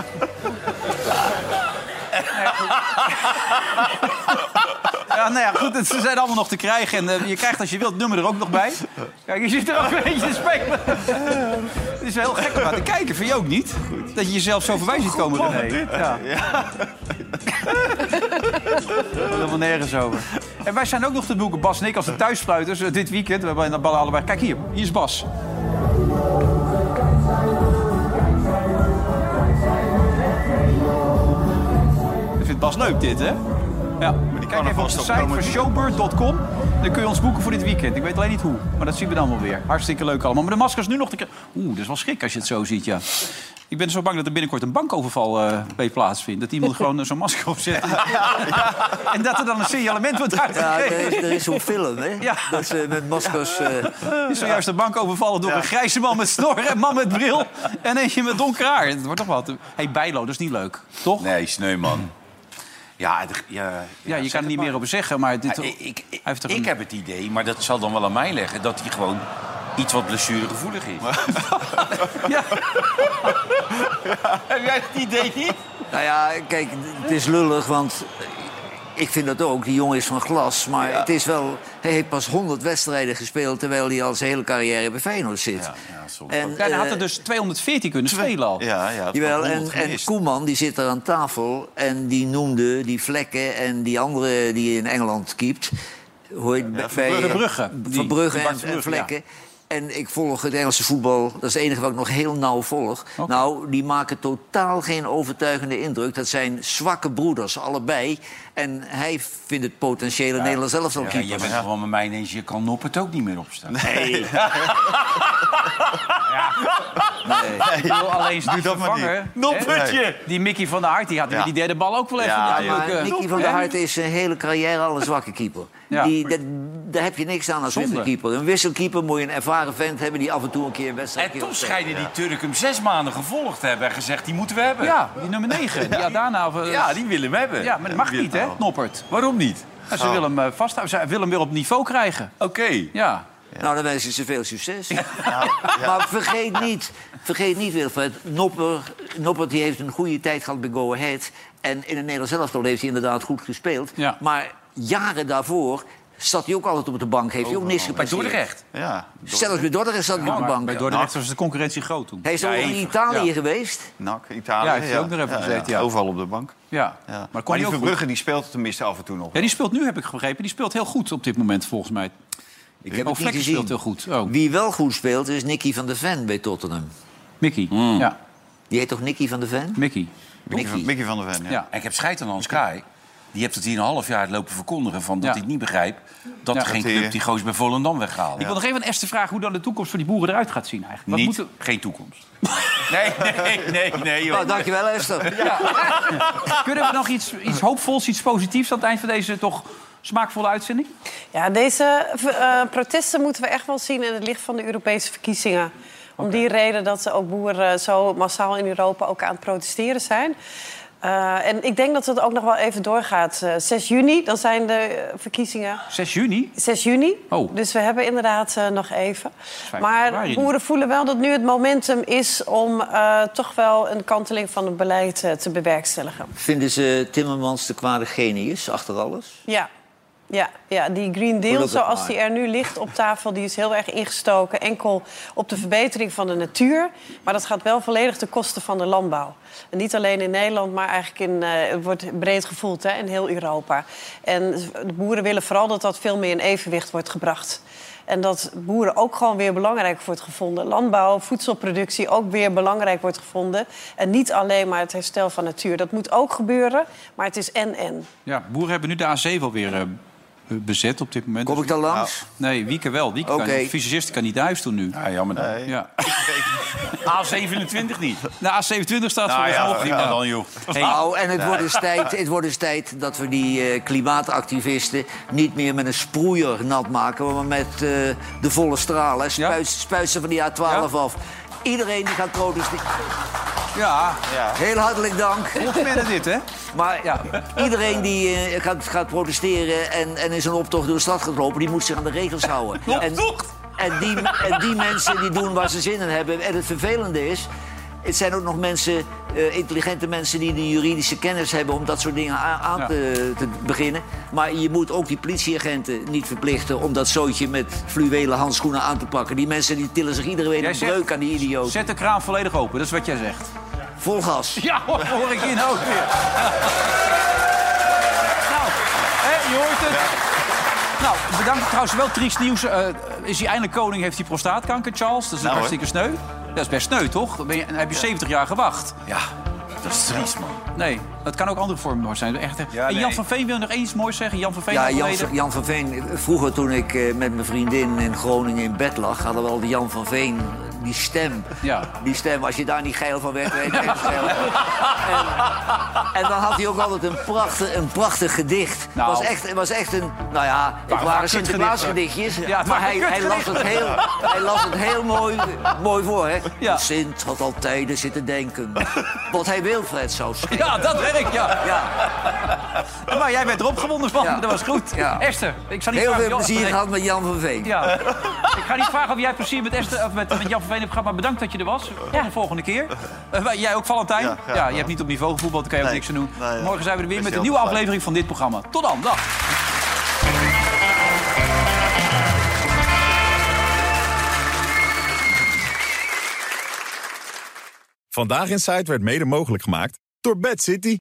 S1: Ja, nou ja, goed. het- ze zijn allemaal nog te krijgen. En eh, je krijgt als je wilt het nummer er ook nog bij. Kijk, je zit er ook een beetje te spelen. Het is wel heel gek om naar te kijken. Vind je ook niet? Dat je jezelf zo voorbij ziet komen, René. Ja. helemaal nergens over. En wij zijn ook nog te boeken, Bas en ik, als de thuispluiters eh, dit weekend. We hebben de ballen allebei. Kijk hier, hier is Bas. Dat vindt Bas leuk, dit, hè? Ja, maar die kijk even op de site van showbird.com. Dan kun je ons boeken voor dit weekend. Ik weet alleen niet hoe, maar dat zien we dan wel weer. Hartstikke leuk allemaal. Maar de maskers nu nog te krijgen. Oeh, dat is wel schrik als je het zo ziet, ja. Ik ben zo bang dat er binnenkort een bankoverval eh, bij plaatsvindt. Dat iemand gewoon eh, zo'n masker opzet. En dat er dan een signalement wordt
S3: Ja, er
S1: uitgegeven.
S3: is, er is zo'n film, hè? Dat ze met maskers... eh,
S1: Er is Zojuist de bank overvallen door een grijze man met snor en man met bril. En eentje met donker haar. Het wordt toch wat. Hé, hey, Bijlo, dat is niet leuk. Toch?
S5: Nee, Sneuman. Ja, het- ja,
S1: Ja, je kan er niet meer over zeggen, maar dit...
S5: Ja, ik- ik,
S1: hij heeft er
S5: ik
S1: een-
S5: heb het idee, maar dat zal dan wel aan mij leggen... dat hij gewoon iets wat blessuregevoelig is. heb jij het idee niet?
S3: Nou ja, kijk, het is lullig, want ik vind dat ook. Die jongen is van glas. Maar het is wel, hij heeft pas 100 wedstrijden gespeeld... terwijl hij al zijn hele carrière bij Feyenoord zit. en,
S1: Ja, hij had
S3: eh,
S1: er dus 214 kunnen spelen al.
S4: Ja, ja.
S3: Jawel, en, en Koeman die zit er aan tafel en die noemde die vlekken en die andere die in Engeland keept. Hoe heet bij- bij-
S1: Verbrugge. Die-
S3: Verbrugge
S1: Bart
S3: en, en
S1: Verbrugge,
S3: vlekken. En ik volg het Engelse voetbal, dat is het enige wat ik nog heel nauw volg. Nou, die maken totaal geen overtuigende indruk. Dat zijn zwakke broeders, allebei. En hij vindt het potentiële Nederlands zelf al
S5: Ja,
S3: keeper.
S5: je bent gewoon met mij ineens... je kan nop het ook niet meer opstaan.
S3: Nee.
S1: Ik bedoel, alleen is
S5: Doe
S1: niet
S5: dat maar
S1: vervangen.
S5: niet. Noppertje.
S1: hè? Die Mickey van der Hart die had
S5: Ja.
S1: die derde bal ook wel even. eh.
S5: Ja,
S1: in de
S3: Ah, Maar
S1: leuke-
S3: Nicky van der Hart is zijn hele carrière al een zwakke keeper.
S1: Ja.
S3: Die, dat, daar heb je niks aan als
S1: Zonde.
S3: wisselkeeper. Een wisselkeeper moet je een ervaren vent hebben die af en toe een keer een wedstrijd
S5: En toch schijnen die Turk hem zes maanden gevolgd te hebben... en gezegd, die moeten we hebben.
S1: Ja, die nummer 9. Die Adana. of, eh,
S5: Ja, die willen hem hebben.
S1: Ja, maar dat mag niet, hè, Noppert.
S5: Waarom niet? Nou.
S1: Ja, ze willen hem eh, vasthouden. Ze willen hem weer op niveau krijgen.
S5: Oké.
S1: Ja.
S3: Nou, dan wens ik ze veel succes. Maar vergeet niet, vergeet niet Wilfred, Nopper, Noppert die heeft een goede tijd gehad bij Go Ahead. En in het Nederlands elftal heeft hij inderdaad goed gespeeld.
S1: Ja.
S3: Maar jaren daarvoor zat hij ook altijd op de bank. Heeft hij ook
S1: Oh,
S3: niks
S5: Bij
S3: gepresteerd.
S5: Dordrecht.
S4: Ja.
S3: Zelfs bij Dordrecht zat hij op de bank.
S1: bij Dordrecht was de concurrentie groot toen.
S3: Hij is
S1: ja,
S3: ook nog in
S1: even.
S3: Italië
S1: Ja.
S3: geweest.
S4: NAC, Italië.
S1: Ja, heeft hij ook nog even gezeten, ja.
S4: Overal op de bank.
S1: Ja.
S4: Ja. Maar,
S1: Maar kon
S4: die
S1: hij ook
S4: Verbrugge die speelt tenminste af en toe nog.
S1: Ja, die speelt nu, heb ik begrepen. Die speelt heel goed op dit moment, volgens mij.
S3: Ik
S1: oh,
S3: heb het niet
S1: Vlekken
S3: gezien.
S1: speelt heel goed. Oh,
S3: Wie wel goed speelt is Nicky van der Ven bij Tottenham.
S1: Mickey.
S5: Hmm.
S1: Ja,
S3: Die heet toch Nicky van der Ven?
S1: Mickey.
S4: Mickey van- Mickey van der Ven, ja.
S1: Ja.
S5: En ik heb scheid aan Hans Kraai. Die heeft het hier een half jaar lopen verkondigen... van dat
S1: Ja.
S5: hij het niet begrijpt dat
S1: Ja.
S5: er geen
S4: Dat hij-
S5: club die goos bij Volendam weghaalt.
S1: Ik wil nog even aan Esther vragen hoe dan de toekomst voor die boeren eruit gaat zien eigenlijk. Wat
S5: Niet,
S1: moeten-
S5: geen toekomst. nee, nee, nee, nee. joh.
S3: Nou, dankjewel Esther.
S1: Kunnen we nog iets, iets hoopvols, iets positiefs aan het eind van deze toch smaakvolle uitzending?
S2: Ja, deze eh, protesten moeten we echt wel zien in het licht van de Europese verkiezingen. Om die reden dat ze ook boeren eh, zo massaal in Europa ook aan het protesteren zijn. Eh, en ik denk dat het ook nog wel even doorgaat. Eh, 6 juni, dan zijn de eh, verkiezingen.
S1: 6 juni?
S2: 6 juni.
S1: Oh.
S2: Dus we hebben inderdaad eh, nog even.
S1: vijf
S2: Maar
S1: januari nu.
S2: boeren voelen wel dat nu het momentum is om eh, toch wel een kanteling van het beleid eh, te bewerkstelligen.
S3: Vinden ze Timmermans de kwade genius achter alles?
S2: Ja. Ja, ja, die Green
S3: Hoe
S2: Deal
S3: dat het
S2: zoals
S3: maar.
S2: die er nu ligt op tafel... die is heel erg ingestoken enkel op de verbetering van de natuur. Maar dat gaat wel volledig ten koste van de landbouw. En niet alleen in Nederland, maar eigenlijk in, eh, het wordt breed gevoeld hè, in heel Europa. En de boeren willen vooral dat dat veel meer in evenwicht wordt gebracht. En dat boeren ook gewoon weer belangrijk wordt gevonden. Landbouw, voedselproductie ook weer belangrijk wordt gevonden. En niet alleen maar het herstel van natuur. Dat moet ook gebeuren, maar het is en-en.
S13: Ja, boeren hebben nu de A7 alweer eh, bezet op dit moment. Kom
S3: ik daar langs?
S13: nee, Wieke wel. Wieke kan,
S3: Oké.
S13: de fysicist kan niet naar huis toe nu.
S5: Ah,
S13: Ja, jammer dan. Ja.
S5: A27 niet.
S13: Nou, A27 staat
S5: Nou
S13: voor
S5: ja,
S13: de
S5: ja, dan, joh. Hey.
S3: Nou, en het
S5: Nee.
S3: wordt, eens tijd, het wordt eens tijd dat we die eh, klimaatactivisten niet meer met een sproeier nat maken, maar met eh, de volle stralen. Spuit, spuit ze van die A12 af. Iedereen die gaat protesteren.
S1: Ja.
S3: Heel hartelijk dank.
S1: Volksmannen dit, hè?
S3: Maar iedereen die eh, gaat, gaat protesteren en, en is een optocht door de stad gaat lopen... die moet zich aan de regels houden. En, en, die, en die mensen die doen waar ze zin in hebben. En het vervelende is... Het zijn ook nog mensen, eh, intelligente mensen die de juridische kennis hebben om dat soort dingen a- aan
S5: Ja.
S3: te, te beginnen. Maar je moet ook die politieagenten niet verplichten om dat zootje met fluwelen handschoenen aan te pakken. Die mensen die tillen zich iedere week
S1: Jij
S3: een
S1: zegt-
S3: breuk aan die idioten.
S1: Zet de kraan volledig open, dat is wat jij zegt.
S3: Vol gas.
S1: Ja, hoor, hoor ik hier nou ook weer. nou, hè, je hoort het. Nou, bedankt trouwens wel triest nieuws. eh, is hij eindelijk koning, heeft hij prostaatkanker, Charles? Dat is
S5: Nou,
S1: hartstikke sneu. Dat is best sneu, toch? Dan, ben je, dan heb je 70 jaar gewacht.
S5: Ja, dat is triest, man.
S1: Nee, dat kan ook andere vormen zijn. Echt, hè. en Jan
S3: nee.
S1: van Veen wil nog eens moois zeggen. Jan van Veen
S3: Ja,
S1: had
S3: Jan,
S1: geleden-
S3: Jan van Veen. Vroeger toen ik eh, met mijn vriendin in Groningen in bed lag... hadden we al die Jan van Veen, die stem. Die stem, als je daar niet geil van werd, werd je echt geil. En, en dan had hij ook altijd een prachtig, een prachtig gedicht. Het
S5: Nou.
S3: was echt, het was echt een... Nou ja, het
S5: waren
S3: waren
S5: kutgedichten.
S3: Sinterklaasgedichtjes.
S5: Ja, het
S3: maar hij,
S5: waren
S3: hij, las het heel,
S5: kutgedichten.
S3: hij las het heel mooi, mooi voor, hè? Sint had al tijden zitten denken. Wat hij Wilfred zou schrijven.
S1: Ja, dat werkt, ja.
S3: ja.
S1: Maar jij bent erop gewonnen, man.
S3: Ja.
S1: Dat was goed.
S3: Ja.
S1: Esther, ik zal niet
S3: Heel
S1: vragen...
S3: veel
S1: of je-
S3: plezier gehad met Jan van Veen.
S1: Ja. ik ga niet vragen of jij plezier met, Esther, of met, met Jan van Veen hebt gehad, maar bedankt dat je er was. Tot de volgende keer. Eh, wij- jij ook, Valentijn? Ja,
S5: graag
S1: je hebt niet op niveau gevoetbald, daar kan je ook niks aan doen.
S5: Nee, ja.
S1: Morgen zijn we er weer
S5: Best
S1: met een
S5: heel
S1: nieuwe
S5: fijn.
S1: aflevering van dit programma. Tot dan, dag.
S14: Vandaag in Zuid werd mede mogelijk gemaakt door Bad City.